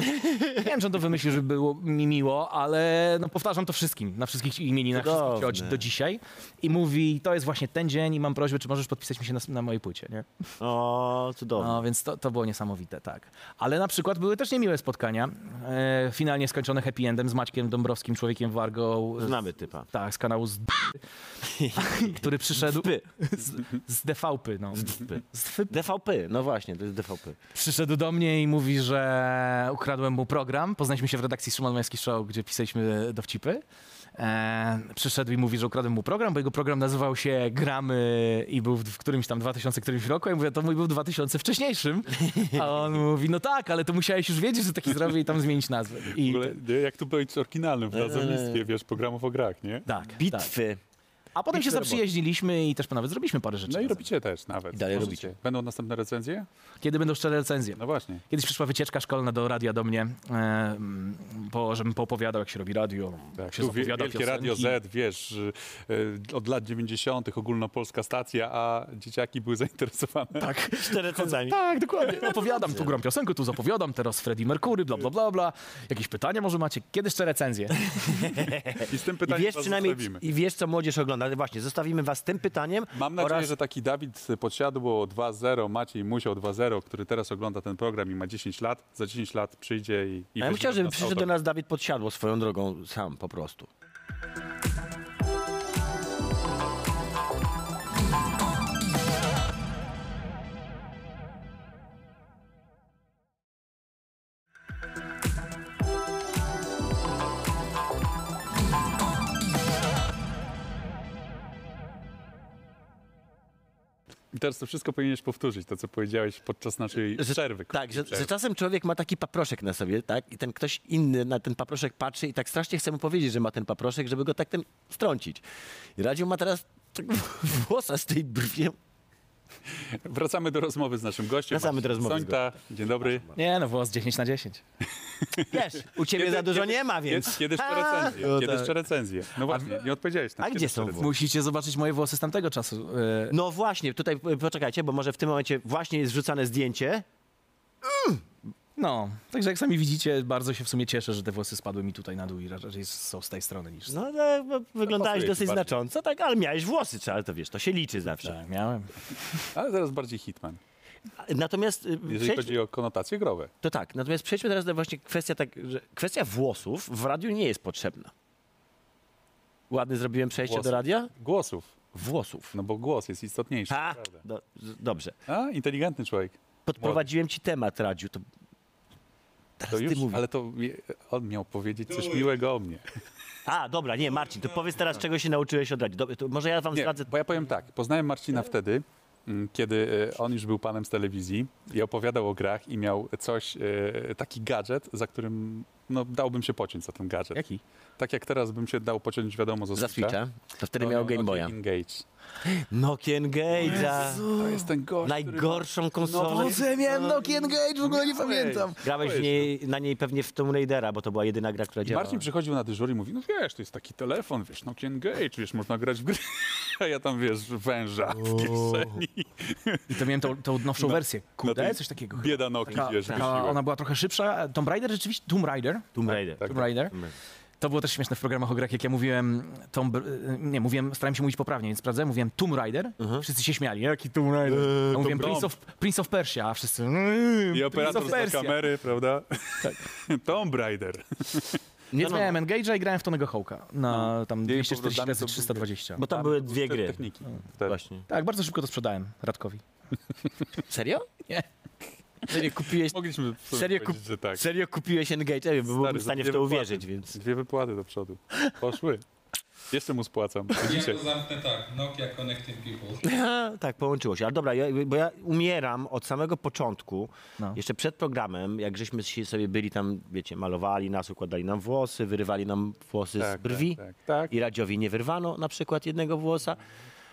C: Nie wiem, czy on to wymyślił, żeby było mi miło, ale no, powtarzam to wszystkim, na wszystkich imieninach, wszystkich
B: Cudowne.
C: cioć do dzisiaj. I mówi, to jest właśnie ten dzień i mam prośbę, czy możesz podpisać mi się na, na mojej płycie, nie?
B: o, cudownie.
C: No, więc to, to było niesamowite, tak. Ale na przykład były też niemiłe spotkania, e, finalnie skończone happy endem z Maćkiem Dąbrowskim, człowiekiem Wargą. z-
B: Znamy typa.
C: Tak, z kanału z... który przyszedł... Z, z DVP, no. Z DVP.
B: DVP, no właśnie, to jest DVP.
C: Przyszedł do mnie i mówi, że ukradłem mu program. Poznaliśmy się w redakcji Szymon Majewski Show, gdzie pisaliśmy dowcipy. E, przyszedł i mówi, że ukradłem mu program, bo jego program nazywał się Gramy i był w, w którymś tam 2000 którymś roku. Ja mówię, to mój był w 2000 wcześniejszym. A on mówi, no tak, ale to musiałeś już wiedzieć, że taki zrobię i tam zmienić nazwę.
A: W
C: I
A: ogóle, nie, jak tu być oryginalnym
B: Eee.
A: w nazewnictwie, wiesz, programów o grach, nie? No
C: tak, tak.
B: Bitwy.
C: A potem się
B: Bitwy roboty.
C: zaprzyjaźniliśmy i też nawet zrobiliśmy parę rzeczy.
A: No i
C: razem.
A: robicie też nawet.
B: I dalej
A: Możecie.
B: robicie.
A: Będą następne recenzje?
C: Kiedy będą szczere recenzje?
A: No właśnie.
C: Kiedyś przyszła wycieczka szkolna do radia do mnie, e, po, żebym poopowiadał, jak się robi radio, jak się
A: Tak, tu wie,
C: zapowiada
A: Wielkie
C: piosenki.
A: Radio Z, wiesz, y, y, od lat 90. ogólnopolska stacja, a dzieciaki były zainteresowane.
B: Tak. Cztery cenzami.
C: Tak, dokładnie. Opowiadam, tu gram piosenkę, tu zapowiadam, teraz Freddie Mercury, bla, bla, bla, bla. Jakieś pytania może macie? Kiedy jeszcze recenzje?
A: I z tym
B: I
A: pytaniem
B: E, wiesz
A: was
B: przynajmniej,
A: zostawimy.
B: i wiesz co młodzież ogląda. No Właśnie, zostawimy was tym pytaniem
A: Mam nadzieję,
B: oraz
A: że taki Dawid Podsiadło 2-0, Maciej Musiał 2-0, który teraz ogląda ten program i ma 10 lat, za 10 lat przyjdzie i... i
B: A ja bym
A: weźmie
B: chciał,
A: od
B: żeby
A: nas
B: przyszedł do
A: autograf.
B: nas Dawid Podsiadło swoją drogą sam po prostu.
A: I teraz to wszystko powinieneś powtórzyć, to co powiedziałeś podczas naszej przerwy.
B: Tak, że,
A: krótkiej
B: że czasem człowiek ma taki paproszek na sobie, tak? I ten ktoś inny na ten paproszek patrzy i tak strasznie chce mu powiedzieć, że ma ten paproszek, żeby go tak tym strącić. I Radziu ma teraz tak włosa z tej brwi.
A: przerwy. Wracamy do rozmowy z naszym gościem.
B: Wracamy do
A: Maciej
B: rozmowy z Tak.
A: Sońta. Dzień dobry.
C: Nie, no włos 10 na 10.
B: Wiesz, u ciebie za dużo nie ma, więc...
A: Kiedy, kiedy jeszcze
B: A,
A: recenzje?
B: no
A: Kiedy
B: tak.
A: jeszcze recenzje? No właśnie, nie odpowiedziałeś na
B: A gdzie są włosy?
C: Musicie zobaczyć moje włosy z tamtego czasu. e,
B: No właśnie, tutaj e, poczekajcie, bo może w tym momencie właśnie jest wrzucane zdjęcie.
C: No, także jak sami widzicie, bardzo się w sumie cieszę, że te włosy spadły mi tutaj na dół i raczej są z tej strony niż...
B: No, no bo wyglądałeś
A: ci
B: dosyć
A: bardziej.
B: znacząco, tak, ale miałeś włosy, czy- ale to wiesz, to się liczy zawsze.
C: Tak, miałem.
A: Ale zaraz bardziej Hitman,
B: Natomiast... e,
A: jeżeli
B: przejdź-
A: chodzi o konotacje growe.
B: To tak, natomiast przejdźmy teraz do właśnie kwestia tak, że kwestia włosów w radiu nie jest potrzebna. Ładnie zrobiłem przejście
A: Włosów.
B: do radia?
A: Głosów,
B: Włosów.
A: no bo głos jest istotniejszy.
B: Ha!
A: prawda?
B: Do, z- dobrze.
A: A, inteligentny człowiek.
B: Podprowadziłem ci temat radiu. To
A: To już,
B: ty mów.
A: ale to mi- on miał powiedzieć coś miłego o mnie.
B: A, dobra, nie, Marcin, to powiedz teraz, czego się nauczyłeś od radia. Dob- to może ja wam
A: Nie,
B: zdradzę.
A: bo ja powiem tak, poznałem Marcina wtedy, mm, kiedy e, on już był panem z telewizji i opowiadał o grach i miał coś, e, taki gadżet, za którym no, dałbym się pociąć za ten gadżet.
C: Jaki?
A: Tak jak teraz bym się dał pociąć, wiadomo,
B: Za Switcha, to wtedy
A: No,
B: miał Game Boya.
A: Engage.
B: Nokian Gage'a.
A: To jest ten gość, który ma- No,
B: Najgorszą konsolę.
C: Włosy miałem Nokia Engage, w ogóle nie pamiętam.
B: Grałeś w
A: no.
B: niej, na niej pewnie w Tomb Raidera, bo to była jedyna gra, która
A: I
B: działała.
A: Marcin przychodził na dyżur i mówi, no wiesz, to jest taki telefon, wiesz, Nokia Engage, wiesz, można grać w gry. A ja tam, wiesz, węża w kieszeni.
C: I to miałem tą, tą nowszą wersję.
A: Na
C: Kurde,
A: tej
C: coś takiego.
A: Bieda Nokii,
C: Taka,
A: wiesz,
C: taka,
A: wisiła.
C: ona była trochę szybsza. Tomb Raider rzeczywiście, Tomb Raider.
B: Tomb Raider.
A: Tak.
C: Tomb Raider. To było też śmieszne w programach o grach, jak ja mówiłem Tomb... e, Nie, mówiłem, starałem się mówić poprawnie, więc sprawdzałem, mówiłem Tomb Raider, wszyscy się śmiali, jaki Tomb Raider?
B: Eee,
C: A mówiłem
A: Tomb
C: Prince of, Prince of Persia, a wszyscy... "Mm,
A: I operator
C: Prince of
A: z
C: Persia.
A: kamery, prawda?
C: Tak.
A: Tomb Raider. No,
C: Więc
B: No,
C: miałem Engage'a i grałem w Tonego Hołka na tam
A: I
C: 240
A: powrotami
C: razy
A: to
C: 320.
B: Bo tam były dwie
A: te
B: gry. No,
A: Techniki. Te-
B: Właśnie.
C: Tak, bardzo szybko to sprzedałem Radkowi.
B: Serio?
C: Nie.
A: Tak.
B: Serio kupiłeś,
A: Mogliśmy w sumie
B: Serio
A: powiedzieć, że tak.
B: serio kupiłeś Engage? Ja E, byłbym
A: Stary,
B: w stanie w
A: za
B: to
A: dwie
B: uwierzyć,
A: wypłaty.
B: więc...
A: Dwie wypłaty do przodu. Poszły. Jeszcze mu spłacam.
D: Ja
A: Dzisiaj.
D: to zamknę tak. Nokia Connecting People.
B: tak, połączyło się. Ale dobra, ja, bo ja umieram od samego początku,
C: No.
B: jeszcze przed programem, jak żeśmy się sobie byli tam, wiecie, malowali nas, układali nam włosy, wyrywali nam włosy z
A: Tak,
B: brwi.
A: tak, tak.
B: I Radziowi nie wyrwano na przykład jednego włosa.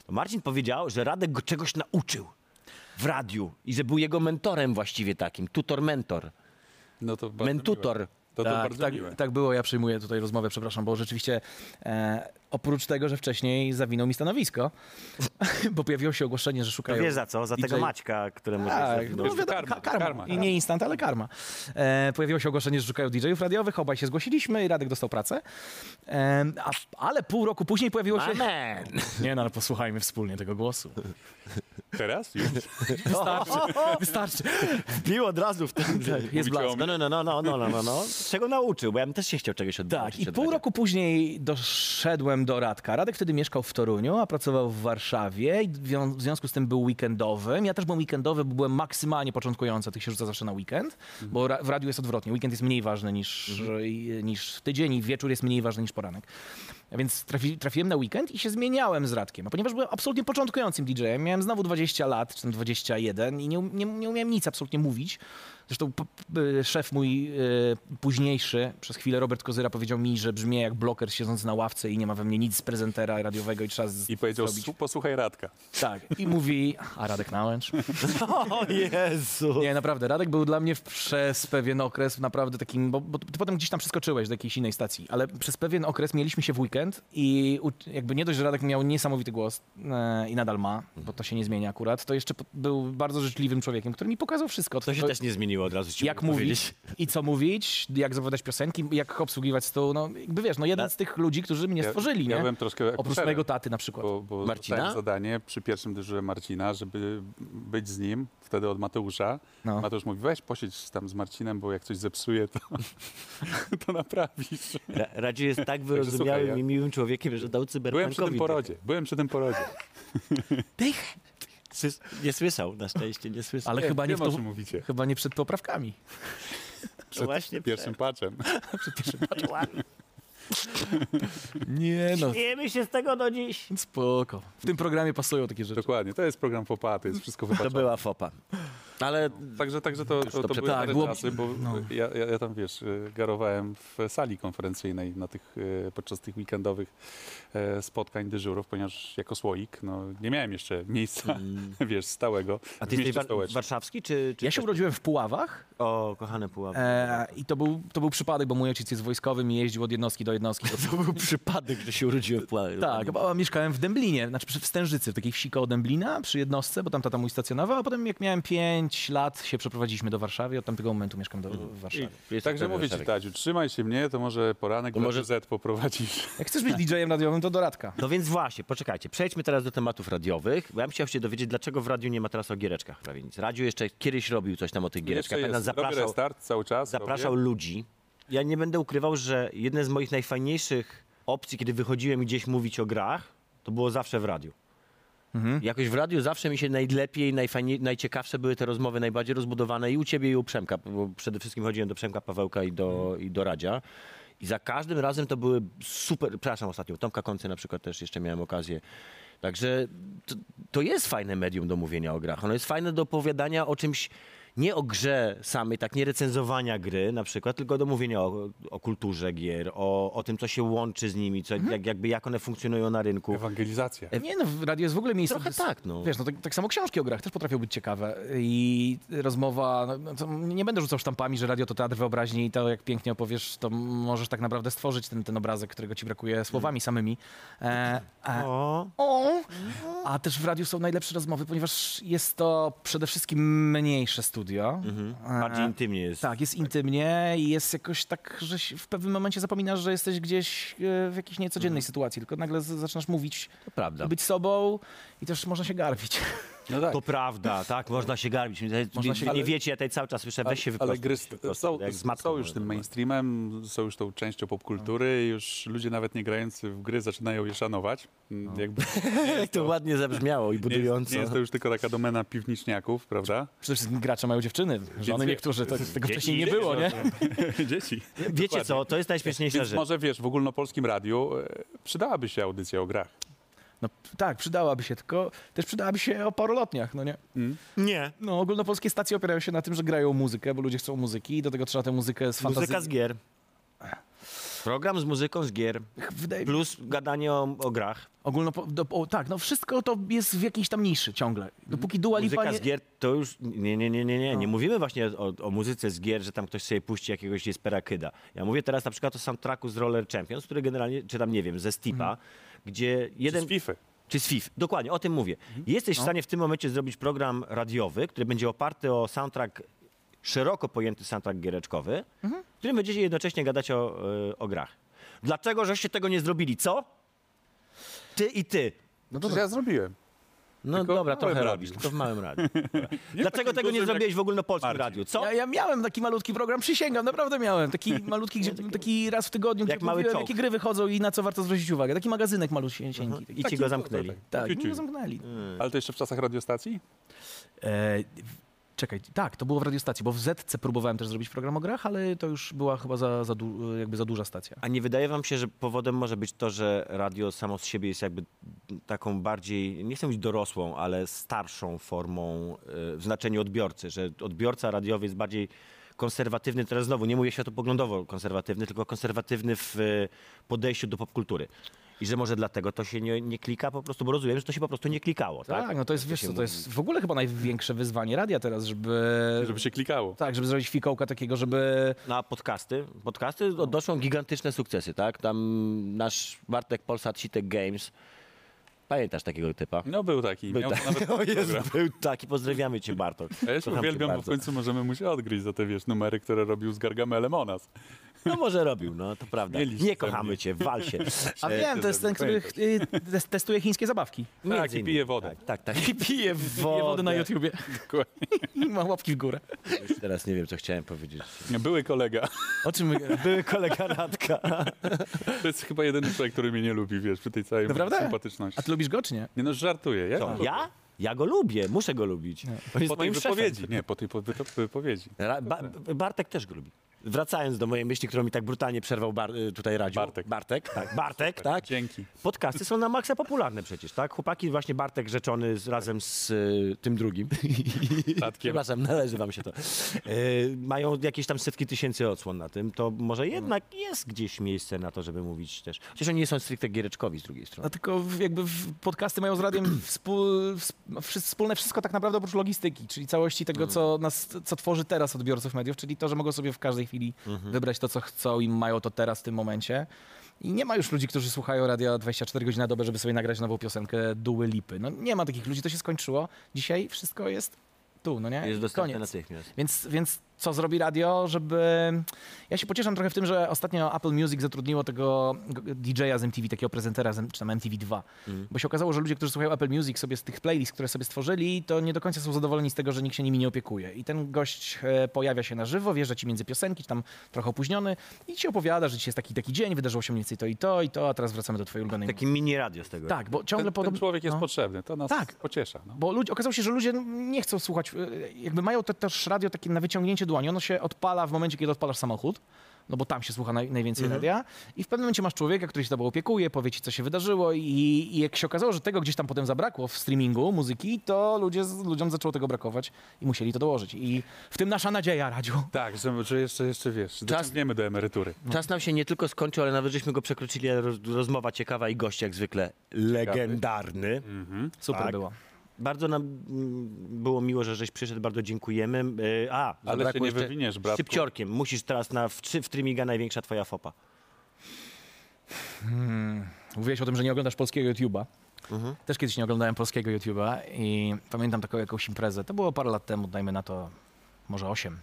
B: To Marcin powiedział, że Radek go czegoś nauczył w radiu i że był jego mentorem właściwie takim, tutor-mentor.
A: No to bardzo
B: Mentutor.
A: miłe. To, to
C: tak,
A: bardzo
C: tak,
A: miłe.
C: tak było, ja przyjmuję tutaj rozmowę, przepraszam, bo rzeczywiście e, oprócz tego, że wcześniej zawinął mi stanowisko, bo pojawiło się ogłoszenie, że
B: To
C: szukają...
B: wiesz za co? Za
C: DJ.
B: tego Maćka, któremu
C: Tak,
B: się
C: no,
A: jest
C: wiadomo,
A: karma,
C: ka- karma. tak.
A: karma.
C: I nie instant, ale karma. E, pojawiło się ogłoszenie, że szukają DJ-ów radiowych, obaj się zgłosiliśmy i Radek dostał pracę. E, a, ale pół roku później pojawiło się...
B: Amen!
C: Nie no, ale posłuchajmy wspólnie tego głosu.
A: Teraz już?
C: Wystarczy, wystarczy.
B: Wbił od razu w ten...
C: Jest
A: Mówicie o
C: blask.
A: mnie?
B: No, no, no, no, no, no, no, no. Czego nauczył, bo ja bym też się chciał czegoś od-
C: Tak,
B: nauczyć
C: i
B: od
C: pół
B: Radia.
C: roku później doszedłem do Radka. Radek wtedy mieszkał w Toruniu, a pracował w Warszawie i wią- w związku z tym był weekendowym. Ja też byłem weekendowy, bo byłem maksymalnie początkujący, tych się rzuca zawsze na weekend, bo ra- w radiu jest odwrotnie. Weekend jest mniej ważny niż, i- niż tydzień i wieczór jest mniej ważny niż poranek. A Więc trafi, trafiłem na weekend i się zmieniałem z Radkiem. A ponieważ byłem absolutnie początkującym DJ-em, miałem znowu 20 lat, czy tam 21 i nie, um- nie, nie umiałem nic absolutnie mówić. Zresztą p- p- y, szef mój y, późniejszy, przez chwilę Robert Kozyra powiedział mi, że brzmię jak bloker siedzący na ławce i nie ma we mnie nic z prezentera radiowego i trzeba z-
A: I powiedział,
C: zrobić.
A: "Su- posłuchaj Radka.
C: Tak. I mówi, a Radek Nałęcz?
B: O Jezu!
C: Nie, naprawdę, Radek był dla mnie w- przez pewien okres naprawdę takim, bo, bo ty potem gdzieś tam przeskoczyłeś do jakiejś innej stacji, ale przez pewien okres mieliśmy się w weekend i u- jakby nie dość, że Radek miał niesamowity głos e, i nadal ma, bo to się nie zmienia akurat, to jeszcze po- był bardzo życzliwym człowiekiem, który mi pokazał wszystko.
B: To się
C: To-
B: też nie zmieniło od razu. ci
C: jak
B: mogę
C: mówić i co mówić, jak zapowiadać piosenki, jak obsługiwać stół, no jakby wiesz, no jeden z tych ludzi, którzy mnie stworzyli,
A: ja
C: nie?
A: byłem troszkę
C: Oprócz
A: akuszerem.
C: mojego taty na przykład.
A: Bo, bo
B: Marcina?
A: dostałem zadanie przy pierwszym dyżurze Marcina, żeby być z nim, wtedy od Mateusza.
C: No.
A: Mateusz mówi, weź posiedź tam z Marcinem, bo jak coś zepsuje, to, to naprawisz.
B: Ra- Radziu jest tak
A: słuchaj,
B: wyrozumiałym
A: ja-
B: i miłym człowiekiem, że dał
A: Byłem
B: cyberpunkowi. tak.
A: przy tym porodzie,
C: tak.
A: byłem przy tym porodzie.
B: Tych Słys- nie słyszał, na szczęście nie słyszał.
C: Ale chyba nie,
A: wiem,
C: w
A: o
C: to,
A: czym mówicie.
C: chyba nie przed poprawkami.
B: przed No właśnie
A: Pierwszym patchem.
B: przed-
C: Nie no,
B: Śmiejemy się z tego do dziś.
C: spoko. W tym programie pasują takie rzeczy.
A: Dokładnie, to jest program Popaty, jest wszystko wypaczone.
B: To była fopa. Ale
A: Także, także to, to,
B: to no.
A: to,
B: przed-
A: były
C: tak,
A: stare
C: było-
A: czasy, bo ja, ja, ja tam, wiesz, y, garowałem w sali konferencyjnej na tych, y, podczas tych weekendowych e, spotkań, dyżurów, ponieważ jako słoik, no, nie miałem jeszcze miejsca, wiesz, stałego
B: Mm. a ty
A: w
B: jesteś
A: mieście
B: wa-
A: stołecznym.
B: warszawski, czy... czy
C: Ja się urodziłem w Puławach
B: O, kochane puławy.
C: e, i to był, to był przypadek, bo mój ojciec jest wojskowym i jeździł od jednostki do jednostki.
B: To był przypadek, że się urodziłem w puławie.
C: Tak, bo mieszkałem w Dęblinie, znaczy przy- w Stężycy, w takiej wsi koło Dęblina, przy jednostce, bo tam tata mój stacjonował, a potem jak miałem 5 lat się przeprowadziliśmy do Warszawy i od tamtego momentu mieszkam do, w Warszawie.
A: Także mówię ci, Tadziu, trzymaj się mnie, to może poranek
B: może-
A: może Z poprowadzisz.
C: Jak chcesz być DJ-em radiowym, to doradka.
B: No więc właśnie, poczekajcie, przejdźmy teraz do tematów radiowych, bo ja bym chciał się dowiedzieć, dlaczego w radiu nie ma teraz o giereczkach prawie nic. Radio jeszcze kiedyś robił coś tam o tych
A: Jeszcze
B: giereczkach,
A: jest,
B: pamiętam,
A: robię
B: zapraszał,
A: restart cały czas.
B: zapraszał
A: robię.
B: ludzi. Ja nie będę ukrywał, że jedne z moich najfajniejszych opcji, kiedy wychodziłem gdzieś mówić o grach, to było zawsze w radiu. Jakoś w radiu zawsze mi się najlepiej, najfajniej, najciekawsze były te rozmowy, najbardziej rozbudowane i u ciebie i u Przemka, bo przede wszystkim chodziłem do Przemka Pawełka i do, i do Radzia. I za każdym razem to były super, przepraszam ostatnio, Tomka Koncy na przykład też jeszcze miałem okazję. Także to, to jest fajne medium do mówienia o grach. Ono jest fajne do opowiadania o czymś, nie o grze samej, tak nie recenzowania gry na przykład, tylko do mówienia o, o kulturze gier, o, o tym, co się łączy z nimi, co,
A: Mhm.
B: jak, jakby jak one funkcjonują na rynku.
A: Ewangelizacja.
C: Nie no, w radio jest w ogóle miejsce...
B: E, Trochę tak, no.
C: Wiesz, no tak, tak samo książki o grach też potrafią być ciekawe i rozmowa, no, no, to nie będę rzucał sztampami, że radio to teatr wyobraźni i to jak pięknie opowiesz, to możesz tak naprawdę stworzyć ten, ten obrazek, którego ci brakuje słowami samymi. E, e,
B: Mm. O,
C: O! A też w radiu są najlepsze rozmowy, ponieważ jest to przede wszystkim mniejsze studio. studio.
B: Bardziej
C: E,
B: intymnie jest.
C: Tak, jest intymnie i jest jakoś tak, że się w pewnym momencie zapominasz, że jesteś gdzieś e, w jakiejś niecodziennej sytuacji, tylko nagle z- zaczynasz mówić,
B: Mhm. to prawda.
C: być sobą i też można się garbić.
A: No tak.
B: To prawda, tak, można się garbić. Można
A: się-
B: nie
A: ale-
B: wiecie, ja tutaj cały czas słyszę, weź się
A: Ale
B: wyprostuj.
A: gry
B: się wyprostuj,
A: są,
B: jak z matką
A: są już
B: mówię,
A: tym
B: no.
A: mainstreamem, są już tą częścią popkultury i już ludzie nawet nie grający w gry zaczynają je szanować. Mm,
B: No.
A: Jakby
B: Jak to ładnie zabrzmiało i
A: nie, jest,
B: budująco.
A: nie jest to już tylko taka domena piwniczniaków, prawda?
C: Przede wszystkim gracze mają dziewczyny, żony
A: wie-
C: niektórzy, to, tego
B: Dzieci
C: wcześniej nie było, nie?
A: Dzieci.
B: Wiecie co, to jest najśmieszniejsza
A: Więc
B: rzecz.
A: może wiesz, w ogólnopolskim radiu e, przydałaby się audycja o grach.
C: No p- tak, przydałaby się, tylko też przydałaby się o parolotniach, no nie?
B: Nie.
C: No ogólnopolskie stacje opierają się na tym, że grają muzykę, bo ludzie chcą muzyki i do tego trzeba tę muzykę z fantazji...
B: Muzyka z gier. Program z muzyką z gier.
C: Wydaje
B: Plus gadanie o, o grach.
C: Ogólnopo... Do... O, tak, no wszystko to jest w jakiejś tam niszy ciągle. Dopóki Dua Lipa
B: Muzyka
C: nie...
B: z gier to już. Nie, nie, nie, nie, nie. Nie mówimy właśnie o, o muzyce z gier, że tam ktoś sobie puści jakiegoś Desperakyda. Ja mówię teraz na przykład o soundtracku z Roller Champions, który generalnie, czy tam nie wiem, ze Steepa, gdzie jeden. No
A: Czy z FIFA.
B: Czy z FIF. Dokładnie, o tym mówię. Jesteś w stanie w tym momencie zrobić program radiowy, który będzie oparty o soundtrack, szeroko pojęty soundtrack giereczkowy, w którym będziecie jednocześnie gadać o, y, o grach. Dlaczego żeście tego nie zrobili? Co? Ty i ty.
A: No to ja zrobiłem.
B: No
A: Tylko w
B: dobra,
A: małym
B: trochę
A: radiu.
B: robisz, tylko w małym radiu. Dobra. Dlaczego
A: takim
B: tego nie
A: dużym,
B: zrobiłeś w ogólnopolskim
A: Marcin.
B: radiu? Co?
C: Ja, ja miałem taki malutki program, przysięgam, naprawdę miałem. Taki malutki, gdzie, taki raz w tygodniu, gdzie
B: Jak mały
C: mówiłem,
B: czołg. Mhm.
C: jakie gry wychodzą i na co warto zwrócić uwagę. Taki magazynek malusieńki. Taki.
B: I ci go zamknęli.
C: Tak,
A: Ciu, ciu.
C: no, go zamknęli.
B: Hmm.
A: Ale to jeszcze w czasach radiostacji?
C: E, w- czekaj, tak, to było w radiostacji, bo w Zetce próbowałem też zrobić program o grach, ale to już była chyba za, za, du, jakby za duża stacja.
B: A nie wydaje wam się, że powodem może być to, że radio samo z siebie jest jakby taką bardziej, nie chcę mówić dorosłą, ale starszą formą y, w znaczeniu odbiorcy, że odbiorca radiowy jest bardziej konserwatywny, teraz znowu nie mówię światopoglądowo konserwatywny, tylko konserwatywny w y, podejściu do popkultury. I że może dlatego to się nie, nie klika po prostu, bo rozumiem, że to się po prostu nie klikało, tak?
C: Tak, no to jest, wiesz co, to jest w ogóle chyba największe wyzwanie radia teraz, żeby...
A: Żeby się klikało.
C: Tak, żeby zrobić fikołka takiego, żeby...
B: Na podcasty. Podcasty odnoszą gigantyczne sukcesy, tak? Tam nasz Bartek Polsat Sitek Games. Pamiętasz takiego typa?
A: No był taki.
B: Był
A: Miał
B: taki.
A: nawet
B: O Jezu,
A: program.
B: był taki. Pozdrawiamy cię, Bartok.
A: Ja się
B: Kocham cię
A: uwielbiam, bo w
B: bardzo.
A: końcu możemy mu się odgryźć za te, wiesz, numery, które robił z Gargamelem o nas.
B: No może robił, no to prawda.
A: Mieliście
B: Nie
A: ze mnie.
B: kochamy cię, wal się.
C: A
B: E,
C: wiem, to jest ten, który y, tes- testuje chińskie zabawki.
B: między
A: Tak, i
B: innymi.
A: pije wodę.
B: Tak, tak, tak. I pije wodę.
C: Pije wody na YouTubie i ma łapki w górę.
B: Już teraz nie wiem, co chciałem powiedzieć.
A: Były kolega.
C: O czym...
B: Były kolega Radka.
A: To jest chyba jedyny człowiek, który mnie nie lubi, wiesz, przy tej całej
C: Naprawdę?
A: sympatyczności.
C: A ty lubisz go, czy nie?
A: Nie no, żartuję. Ja?
B: To ja? Ja go lubię, muszę go lubić. On jest
A: Po tej
B: moim szefem.
A: wypowiedzi. Nie, po tej po- wypo- wypowiedzi.
B: Ra- ba- B- Bartek też go lubi. Wracając do mojej myśli, którą mi tak brutalnie przerwał bar- y, tutaj Radziu.
A: Bartek.
B: Bartek, tak. Bartek, tak.
A: Dzięki.
B: Podcasty są na maksa popularne przecież, tak? Chłopaki, właśnie Bartek rzeczony z, razem z y, tym drugim.
A: Tatkiem.
B: Przepraszam, należy wam się to. Y, mają jakieś tam setki tysięcy odsłon na tym, to może jednak jest gdzieś miejsce na to, żeby mówić też. Chociaż oni nie są stricte giereczkowi z drugiej strony.
C: No tylko w- jakby w- podcasty mają z radiem wspól, wsp- wszy- wspólne wszystko tak naprawdę oprócz logistyki, czyli całości
B: Mm.
C: tego, co, nas, co tworzy teraz odbiorców mediów, czyli to, że mogą sobie w każdej chwili
B: Mhm.
C: wybrać to, co chcą i mają to teraz w tym momencie. I nie ma już ludzi, którzy słuchają radia 24 godziny na dobę, żeby sobie nagrać nową piosenkę Duły Lipy. No nie ma takich ludzi, to się skończyło. Dzisiaj wszystko jest tu, no nie?
B: Jest
C: I
B: dostępne
C: Koniec.
B: natychmiast.
C: Więc, więc co zrobi radio, żeby... Ja się pocieszam trochę w tym, że ostatnio Apple Music zatrudniło tego DJ-a z MTV, takiego prezentera, z M- czy tam MTV2.
A: Mhm.
C: Bo się okazało, że ludzie, którzy słuchają Apple Music sobie z tych playlist, które sobie stworzyli, to nie do końca są zadowoleni z tego, że nikt się nimi nie opiekuje. I ten gość e, pojawia się na żywo, wjeżdża ci między piosenki, czy tam trochę opóźniony i ci opowiada, że dzisiaj jest taki taki dzień, wydarzyło się mniej więcej to i to i to, a teraz wracamy do twojej ulubionej...
B: Taki mini radio z tego.
C: Tak, bo ciągle
A: Ten, ten
C: podobno...
A: człowiek jest
C: no.
A: potrzebny. To nas
C: Tak.
A: pociesza. No.
C: Bo ludzi, okazało się, że ludzie nie chcą słuchać, y, jakby mają te, też radio takie na wyciągnięcie dłoni. Ono się odpala w momencie, kiedy odpalasz samochód, no bo tam się słucha naj, najwięcej radia. I w pewnym momencie masz człowieka, który się tobą opiekuje, powie ci, co się wydarzyło i, i jak się okazało, że tego gdzieś tam potem zabrakło w streamingu muzyki, to ludzie, z- ludziom zaczęło tego brakować i musieli to dołożyć. I w tym nasza nadzieja, Radziu.
A: Tak, że, że jeszcze, jeszcze wiesz, dociągniemy do emerytury.
B: Czas nam się nie tylko skończył, ale nawet żeśmy go przekroczyli. ale Roz, rozmowa ciekawa i gość jak zwykle legendarny.
C: Super
B: Tak.
C: było.
B: Bardzo nam mm, było miło, że żeś przyszedł, bardzo dziękujemy. Yy, A, zabrakło
A: się nie
B: jeszcze
A: wywiniesz, bratku.
B: Szybciorkiem, musisz teraz na w, trzy- w Trymiga największa twoja fopa.
C: Mówiłeś o tym, że nie oglądasz polskiego YouTube'a. Też kiedyś nie oglądałem polskiego YouTube'a i pamiętam taką jakąś imprezę. To było parę lat temu, dajmy na to może 8.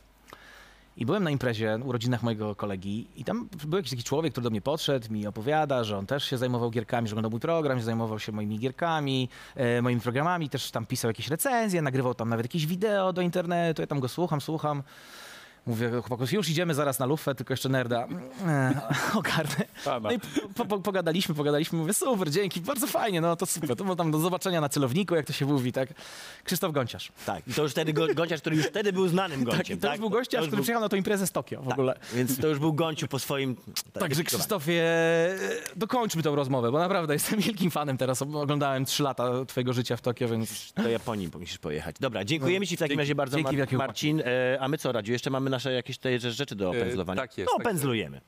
C: I byłem na imprezie, na urodzinach mojego kolegi i tam był jakiś taki człowiek, który do mnie podszedł, mi opowiada, że on też się zajmował gierkami, że oglądał mój program, że zajmował się moimi gierkami, e, moimi programami, też tam pisał jakieś recenzje, nagrywał tam nawet jakieś wideo do internetu, ja tam go słucham, słucham. Mówię do chłopaków, już idziemy zaraz na lufę, tylko jeszcze nerda. E, ogarnę.
A: A, no.
C: No i po, po, pogadaliśmy, pogadaliśmy, mówię, super, dzięki, bardzo fajnie, no to super, to było tam do zobaczenia na celowniku, jak to się mówi, tak. Krzysztof Gąciarz.
B: Tak, i to już wtedy go, Gąciarz, który już wtedy był znanym Gąciem.
C: Tak, i to już był gościa,
B: To już
C: który
B: był- Tak.
C: przyjechał na tą imprezę z Tokio w ogóle.
B: Więc to już był Gąciu po swoim... tak,
C: Także Krzysztofie, e, dokończmy tą rozmowę, bo naprawdę jestem wielkim fanem teraz. Oglądałem 3 lata twojego życia w Tokio, więc
B: Do Japonii musisz pojechać. Dobra, dziękujemy ci w takim
C: Dzięki.
B: razie bardzo,
C: Dzięki
B: Mar-
C: wielkie, chłopaki.
B: Marcin. E, a my co, Radziu? Jeszcze mamy nasze jakieś te rzeczy do opędzlowania?
A: tak jest,
B: No,
A: tak
B: opędzlujemy.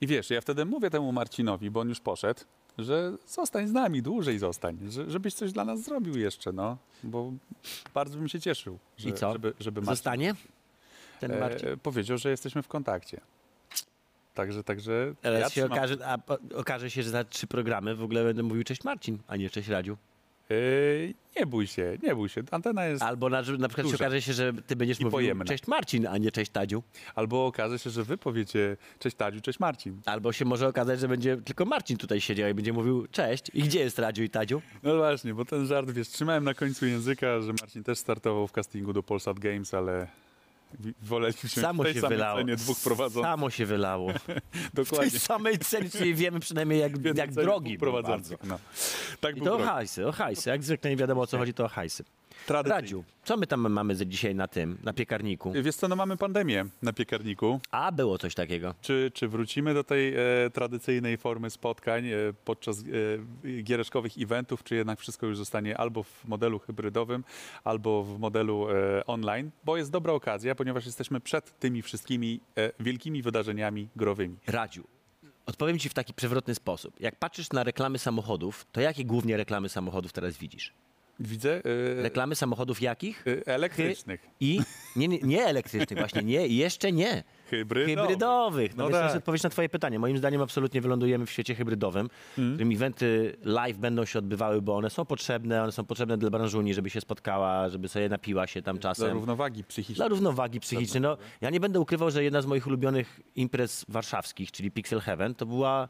A: I wiesz, ja wtedy mówię temu Marcinowi, bo on już poszedł, że zostań z nami, dłużej zostań, że, żebyś coś dla nas zrobił jeszcze, no. Bo bardzo bym się cieszył, że,
B: I co?
A: żeby, żeby Marcin
B: Zostanie ten
A: e,
B: Marcin?
A: powiedział, że jesteśmy w kontakcie. Także, także
B: Teraz
A: ja
B: się
A: trzymam-
B: okaże, a, po- okaże się, że za trzy programy w ogóle będę mówił cześć Marcin, a nie cześć Radziu.
A: E, nie bój się, nie bój się, antena jest...
B: Albo na, na przykład się
A: Duża.
B: okaże się, że ty będziesz
A: I
B: mówił
A: pojemna.
B: cześć Marcin, a nie cześć Tadziu.
A: Albo okaże się, że wy powiecie cześć Tadziu, cześć Marcin.
B: Albo się może okazać, że będzie tylko Marcin tutaj siedział i będzie mówił cześć. I gdzie jest Radziu i Tadziu?
A: No właśnie, bo ten żart, wiesz, trzymałem na końcu języka, że Marcin też startował w castingu do Polsat Games, ale wi- woleliśmy
B: Samo
A: w tej
B: się
A: samej
B: wylało.
A: cenie dwóch prowadzących.
B: Samo się wylało. W tej
A: Dokładnie.
B: samej cenie, czyli wiemy przynajmniej jak,
A: Więc
B: jak
A: ceny
B: drogi.
A: dwóch
B: był
A: prowadzących.
B: bardzo.
A: No. Tak
B: I
A: był
B: to o
A: drogi.
B: hajsy, o hajsy. Jak zwykle nie wiadomo o co chodzi, to o hajsy.
A: Tradycyjnie.
B: Radziu, co my tam mamy za dzisiaj na tym, na piekarniku?
A: Wiesz co, no mamy pandemię na piekarniku.
B: A, było coś takiego.
A: Czy, czy wrócimy do tej e, tradycyjnej formy spotkań e, podczas e, giereszkowych eventów, czy jednak wszystko już zostanie albo w modelu hybrydowym, albo w modelu e, online? Bo jest dobra okazja, ponieważ jesteśmy przed tymi wszystkimi e, wielkimi wydarzeniami growymi.
B: Radziu, odpowiem ci w taki przewrotny sposób. Jak patrzysz na reklamy samochodów, to jakie głównie reklamy samochodów teraz widzisz?
A: Widzę e,
B: Reklamy samochodów jakich?
A: e, elektrycznych,
B: I nie, nie, nie elektrycznych, właśnie nie, i jeszcze nie.
A: hybrydowych.
B: Hybrydowych. No,
A: No
B: więc to jest
A: tak.
B: odpowiedź na twoje pytanie. Moim zdaniem absolutnie wylądujemy w świecie hybrydowym,
A: Hmm.
B: w którym eventy live będą się odbywały, bo one są potrzebne, one są potrzebne dla branży Unii, żeby się spotkała, żeby sobie napiła się tam
A: Dla
B: czasem.
A: równowagi psychicznej.
B: Dla równowagi psychicznej. No, ja nie będę ukrywał, że jedna z moich ulubionych imprez warszawskich, czyli Pixel Heaven, to była...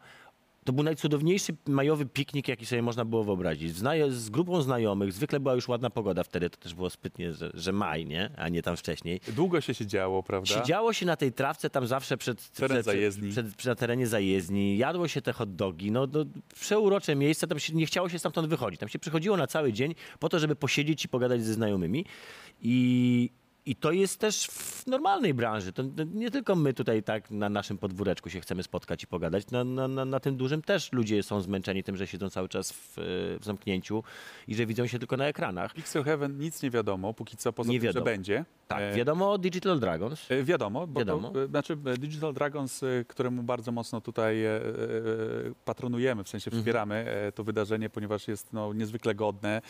B: To był najcudowniejszy majowy piknik, jaki sobie można było wyobrazić. Znajo- z grupą znajomych, zwykle była już ładna pogoda wtedy, to też było spytnie, że, że maj, nie? A nie tam wcześniej.
A: Długo się siedziało, prawda?
B: Siedziało się na tej trawce tam zawsze przed,
A: Teren
B: przed,
A: zajezdni.
B: przed, przed na terenie zajezdni, jadło się te hot dogi, no, no przeurocze miejsce, tam się, nie chciało się stamtąd wychodzić. Tam się przychodziło na cały dzień po to, żeby posiedzieć i pogadać ze znajomymi i... I to jest też w normalnej branży. To to nie tylko my tutaj tak na naszym podwóreczku się chcemy spotkać i pogadać. Na, na, na, na tym dużym też ludzie są zmęczeni tym, że siedzą cały czas w, e, w zamknięciu i że widzą się tylko na ekranach.
A: Pixel Heaven nic nie wiadomo, póki co poza
B: Nie
A: tym,
B: wiadomo.
A: że będzie.
B: Tak,
A: E,
B: wiadomo o Digital Dragons.
A: E, Wiadomo, bo
B: Wiadomo.
A: To, e, znaczy e, Digital Dragons, e, któremu bardzo mocno tutaj e, e, patronujemy, w sensie
B: Mhm.
A: wspieramy e, to wydarzenie, ponieważ jest no, niezwykle godne.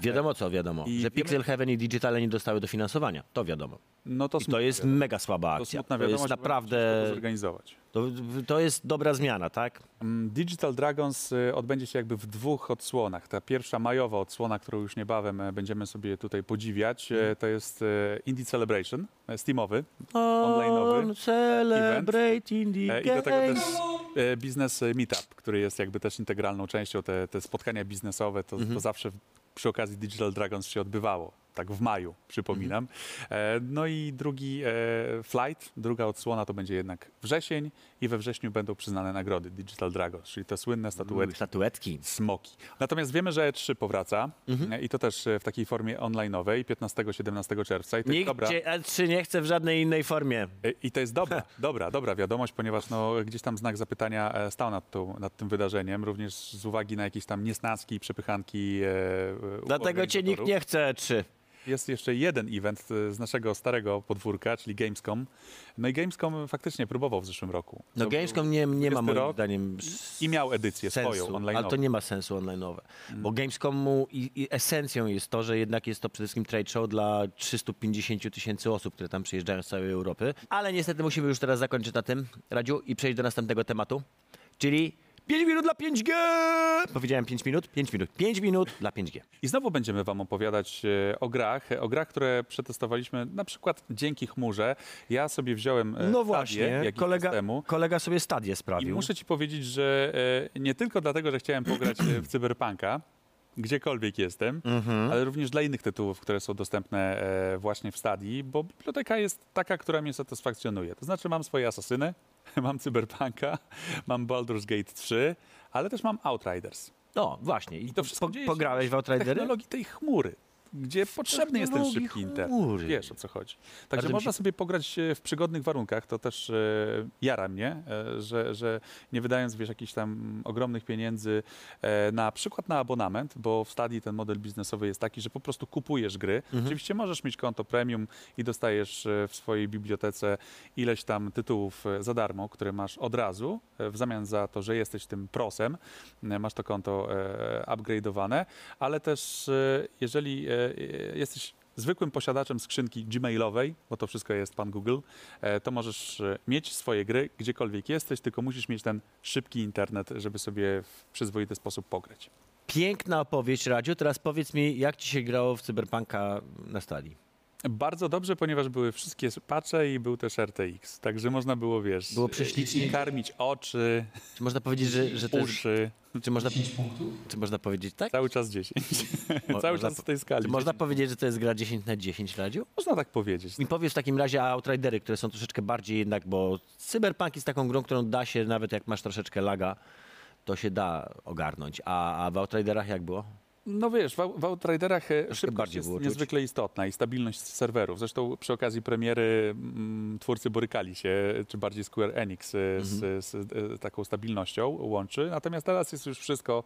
B: Wiadomo co, wiadomo.
A: I
B: że
A: wiemy-
B: Pixel Heaven i Digitale nie dostały dofinansowania. To wiadomo.
A: No to,
B: I to jest mega słaba
A: to
B: akcja.
A: smutna
B: To,
A: wiadomość,
B: jest
A: bo
B: naprawdę...
A: będziemy musieli to zorganizować.
B: To, to jest dobra zmiana, tak?
A: Mm, Digital Dragons e, odbędzie się jakby w dwóch odsłonach. Ta pierwsza majowa odsłona, którą już niebawem e, będziemy sobie tutaj podziwiać,
B: Mhm.
A: e, to jest e, Indie Celebration, e, Steamowy. Online'owy
B: On No, celebrate indie
A: E, I do tego też
B: games.
A: e, biznes meetup, który jest jakby też integralną częścią. Te, te spotkania biznesowe to, to zawsze w- przy okazji Digital Dragons się odbywało. Tak w maju, przypominam. E, No i drugi e, flight, druga odsłona to będzie jednak wrzesień i we wrześniu będą przyznane nagrody Digital Dragons, czyli te słynne statuetki
B: Statuetki.
A: smoki. Natomiast wiemy, że E3 powraca e, i to też e, w takiej formie online'owej 15-17 czerwca. I to, jest
B: Nikt
A: dobra,
B: cię E3 nie chce w żadnej innej formie.
A: e, I to jest dobra, dobra, dobra wiadomość, ponieważ no, gdzieś tam znak zapytania e, stał nad, tą, nad tym wydarzeniem, również z uwagi na jakieś tam niesnaski i przepychanki. e, e, u
B: Dlatego cię nikt
A: organizatorów.
B: nie chce E3.
A: Jest jeszcze jeden event e, z naszego starego podwórka, czyli Gamescom. No i Gamescom faktycznie próbował w zeszłym roku.
B: No
A: To
B: Gamescom nie, nie
A: 20
B: ma moim
A: rok
B: zdaniem
A: I miał edycję
B: sensu,
A: swoją Mm. online.
B: ale to nie ma sensu online'owe, bo Gamescomu i, i esencją jest to, że jednak jest to przede wszystkim trade show dla 350 000 tysięcy osób, które tam przyjeżdżają z całej Europy, ale niestety musimy już teraz zakończyć na tym, Radziu, i przejść do następnego tematu. czyli 5 minut dla 5G! Powiedziałem 5 minut, 5 minut, 5 minut dla 5G.
A: I znowu będziemy Wam opowiadać e, o grach, e, o grach, które przetestowaliśmy na przykład dzięki chmurze. Ja sobie wziąłem e,
B: No
A: Stadię,
B: właśnie,
A: jakiś
B: kolega,
A: czas temu.
B: kolega sobie stadię
A: I
B: sprawił.
A: muszę Ci powiedzieć, że e, nie tylko dlatego, że chciałem pograć e, w Cyberpunka, gdziekolwiek jestem, ale również dla innych tytułów, które są dostępne e, właśnie w Stadii, bo biblioteka jest taka, która mnie satysfakcjonuje. To znaczy mam swoje Asasyny, mam Cyberpunka, mam Baldur's Gate 3, ale też mam Outriders.
B: No właśnie, i
A: to
B: to
A: wszystko
B: po,
A: dzieje się
B: pograłeś w Outridery?
A: Technologii tej chmury. Gdzie potrzebny jest ten
B: technologii
A: szybki internet.
B: chmury.
A: Wiesz o co chodzi.
B: Bardzo
A: Także
B: mi
A: można
B: się-
A: sobie pograć e, w przygodnych warunkach. To też e, jara mnie, e, że, że nie wydając wiesz jakichś tam ogromnych pieniędzy e, na przykład na abonament, bo w Stadii ten model biznesowy jest taki, że po prostu kupujesz gry. Oczywiście możesz mieć konto premium i dostajesz e, w swojej bibliotece ileś tam tytułów e, za darmo, które masz od razu e, w zamian za to, że jesteś tym prosem. E, Masz to konto e, upgrade'owane, ale też e, jeżeli e, e, jesteś zwykłym posiadaczem skrzynki gmailowej, bo to wszystko jest pan Google, e, to możesz e, mieć swoje gry gdziekolwiek jesteś, tylko musisz mieć ten szybki internet, żeby sobie w przyzwoity sposób pograć.
B: Piękna opowieść, Radziu. Teraz powiedz mi, jak ci się grało w Cyberpunka na stali?
A: Bardzo dobrze, ponieważ były wszystkie patche i był też RTX, także można było, wiesz,
B: Było prześlicznie.
A: i karmić oczy,
B: Czy można powiedzieć, że, że to jest,
A: uszy,
B: czy, można,
D: 10 punktów?
B: czy można powiedzieć tak?
A: cały czas 10,
B: Mo-
A: cały
B: można
A: czas
B: po-
A: w tej skali.
B: Czy można powiedzieć, że to jest gra 10 na 10, Radziu?
A: Można tak powiedzieć.
B: Mi powiedz w takim razie a Outridery, które są troszeczkę bardziej jednak, bo Cyberpunk jest taką grą, którą da się, nawet jak masz troszeczkę laga, to się da ogarnąć. A, a w Outriderach jak było?
A: No wiesz, w, Out- w Outriderach e, szybkość
B: bardziej
A: jest
B: było czuć.
A: niezwykle istotna i stabilność serwerów. Zresztą przy okazji premiery mm, twórcy borykali się, czy bardziej Square Enix e,
B: Mhm.
A: z, z, e, taką stabilnością łączy. Natomiast teraz jest już wszystko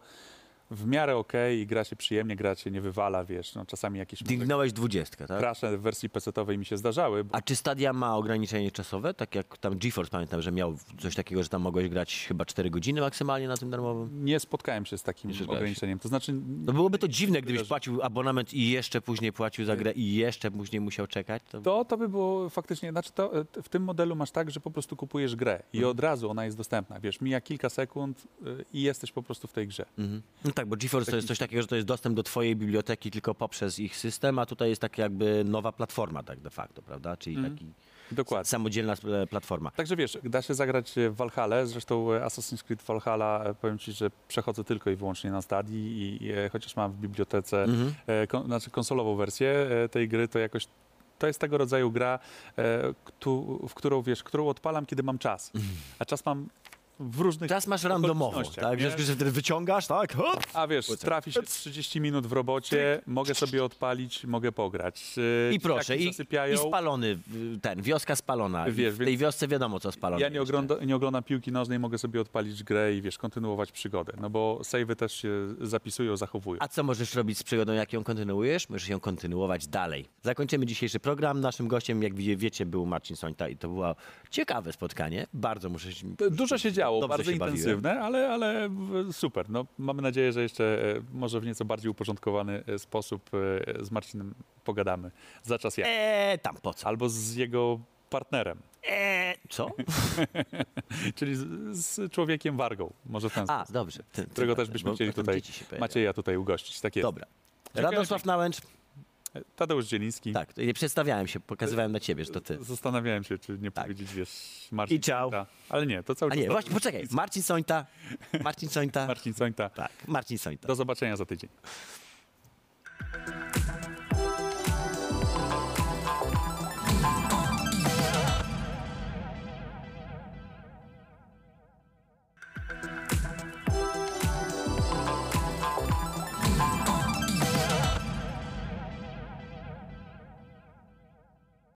A: w miarę okej i gra się przyjemnie, gra się nie wywala, wiesz. No, czasami jakieś
B: Dignąłeś 20, tak?
A: krasze w wersji PC-owej mi się zdarzały, bo
B: A czy Stadia ma ograniczenie czasowe? Tak jak tam GeForce pamiętam, że miał coś takiego, że tam mogłeś grać chyba 4 godziny maksymalnie na tym darmowym.
A: nie spotkałem się z takim
B: Nie spotkałeś się.
A: ograniczeniem. To znaczy...
B: No byłoby to dziwne, gdybyś
A: Wydarzy-
B: płacił abonament i jeszcze później płacił za grę i jeszcze później musiał czekać. To...
A: To, to by było faktycznie, znaczy to, e, t- w tym modelu masz tak, że po prostu kupujesz grę i od razu ona jest dostępna. Wiesz, mija kilka sekund y, i jesteś po prostu w tej grze.
B: Mhm. No tak, bo GeForce to jest coś takiego, że to jest dostęp do twojej biblioteki tylko poprzez ich system, a tutaj jest tak jakby nowa platforma tak de facto, prawda? Czyli taki
A: Mhm. Dokładnie.
B: samodzielna e, platforma.
A: Także wiesz, da się zagrać e, w Valhalla, zresztą e, Assassin's Creed Valhalla, e, powiem Ci, że przechodzę tylko i wyłącznie na stadii i, i e, chociaż mam w bibliotece,
B: Mm. Mhm.
A: e, kon, znaczy konsolową wersję e, tej gry, to jakoś to jest tego rodzaju gra, e, któ- w którą, wiesz, którą odpalam, kiedy mam czas. A czas mam w różnych
B: Teraz masz randomowo,
A: okolicznościach,
B: tak? W
A: nie?
B: związku z tym wtedy wyciągasz, tak? Hop!
A: A wiesz, trafi się 30 minut w robocie, mogę sobie odpalić, mogę pograć. Yy,
B: I proszę,
A: dzieciaki
B: i,
A: zasypiają.
B: i spalony y, ten, wioska spalona. I
A: Wiesz,
B: w
A: więc-
B: tej wiosce wiadomo, co spalone.
A: Ja nie,
B: jest, tak?
A: ogląda, nie oglądam piłki nożnej, mogę sobie odpalić grę i wiesz, kontynuować przygodę. No bo savey też się zapisują, zachowują.
B: A co możesz robić z przygodą, jak ją kontynuujesz? Możesz ją kontynuować dalej. Zakończymy dzisiejszy program. Naszym gościem, jak wie- wiecie, był Marcin Sońta i to było ciekawe spotkanie. Bardzo muszę się...
A: Dużo się działo,
B: Dobrze
A: bardzo
B: się bawiłem.
A: intensywne, ale, ale w- super. No, mamy nadzieję, że jeszcze e, może w nieco bardziej uporządkowany e, sposób e, z Marcinem pogadamy za czas jak.
B: Eee, tam po co?
A: Albo z jego partnerem,
B: Eee, co?
A: czyli z, z człowiekiem wargą. Może w ten
B: A, dobrze. Ty- ty-
A: którego też
B: bo-
A: byśmy
B: bo
A: chcieli
B: potem
A: tutaj,
B: dzieci się pojawiają.
A: Macieja tutaj ugościć. Tak jest.
B: Dobra. Radosław Nałęcz,
A: Tadeusz Zieliński.
B: tak, nie przedstawiałem się, pokazywałem na ciebie, że to ty.
A: Zastanawiałem się, czy nie
B: Tak.
A: powiedzieć, wiesz, Marcin
B: I ciao.
A: Sońta. Ale nie, to cały
B: A
A: czas
B: nie,
A: Tadeusz
B: właśnie, poczekaj, Marcin Sońta, Marcin Sońta,
A: Marcin Sońta.
B: tak, Marcin Sońta.
A: Do zobaczenia za tydzień.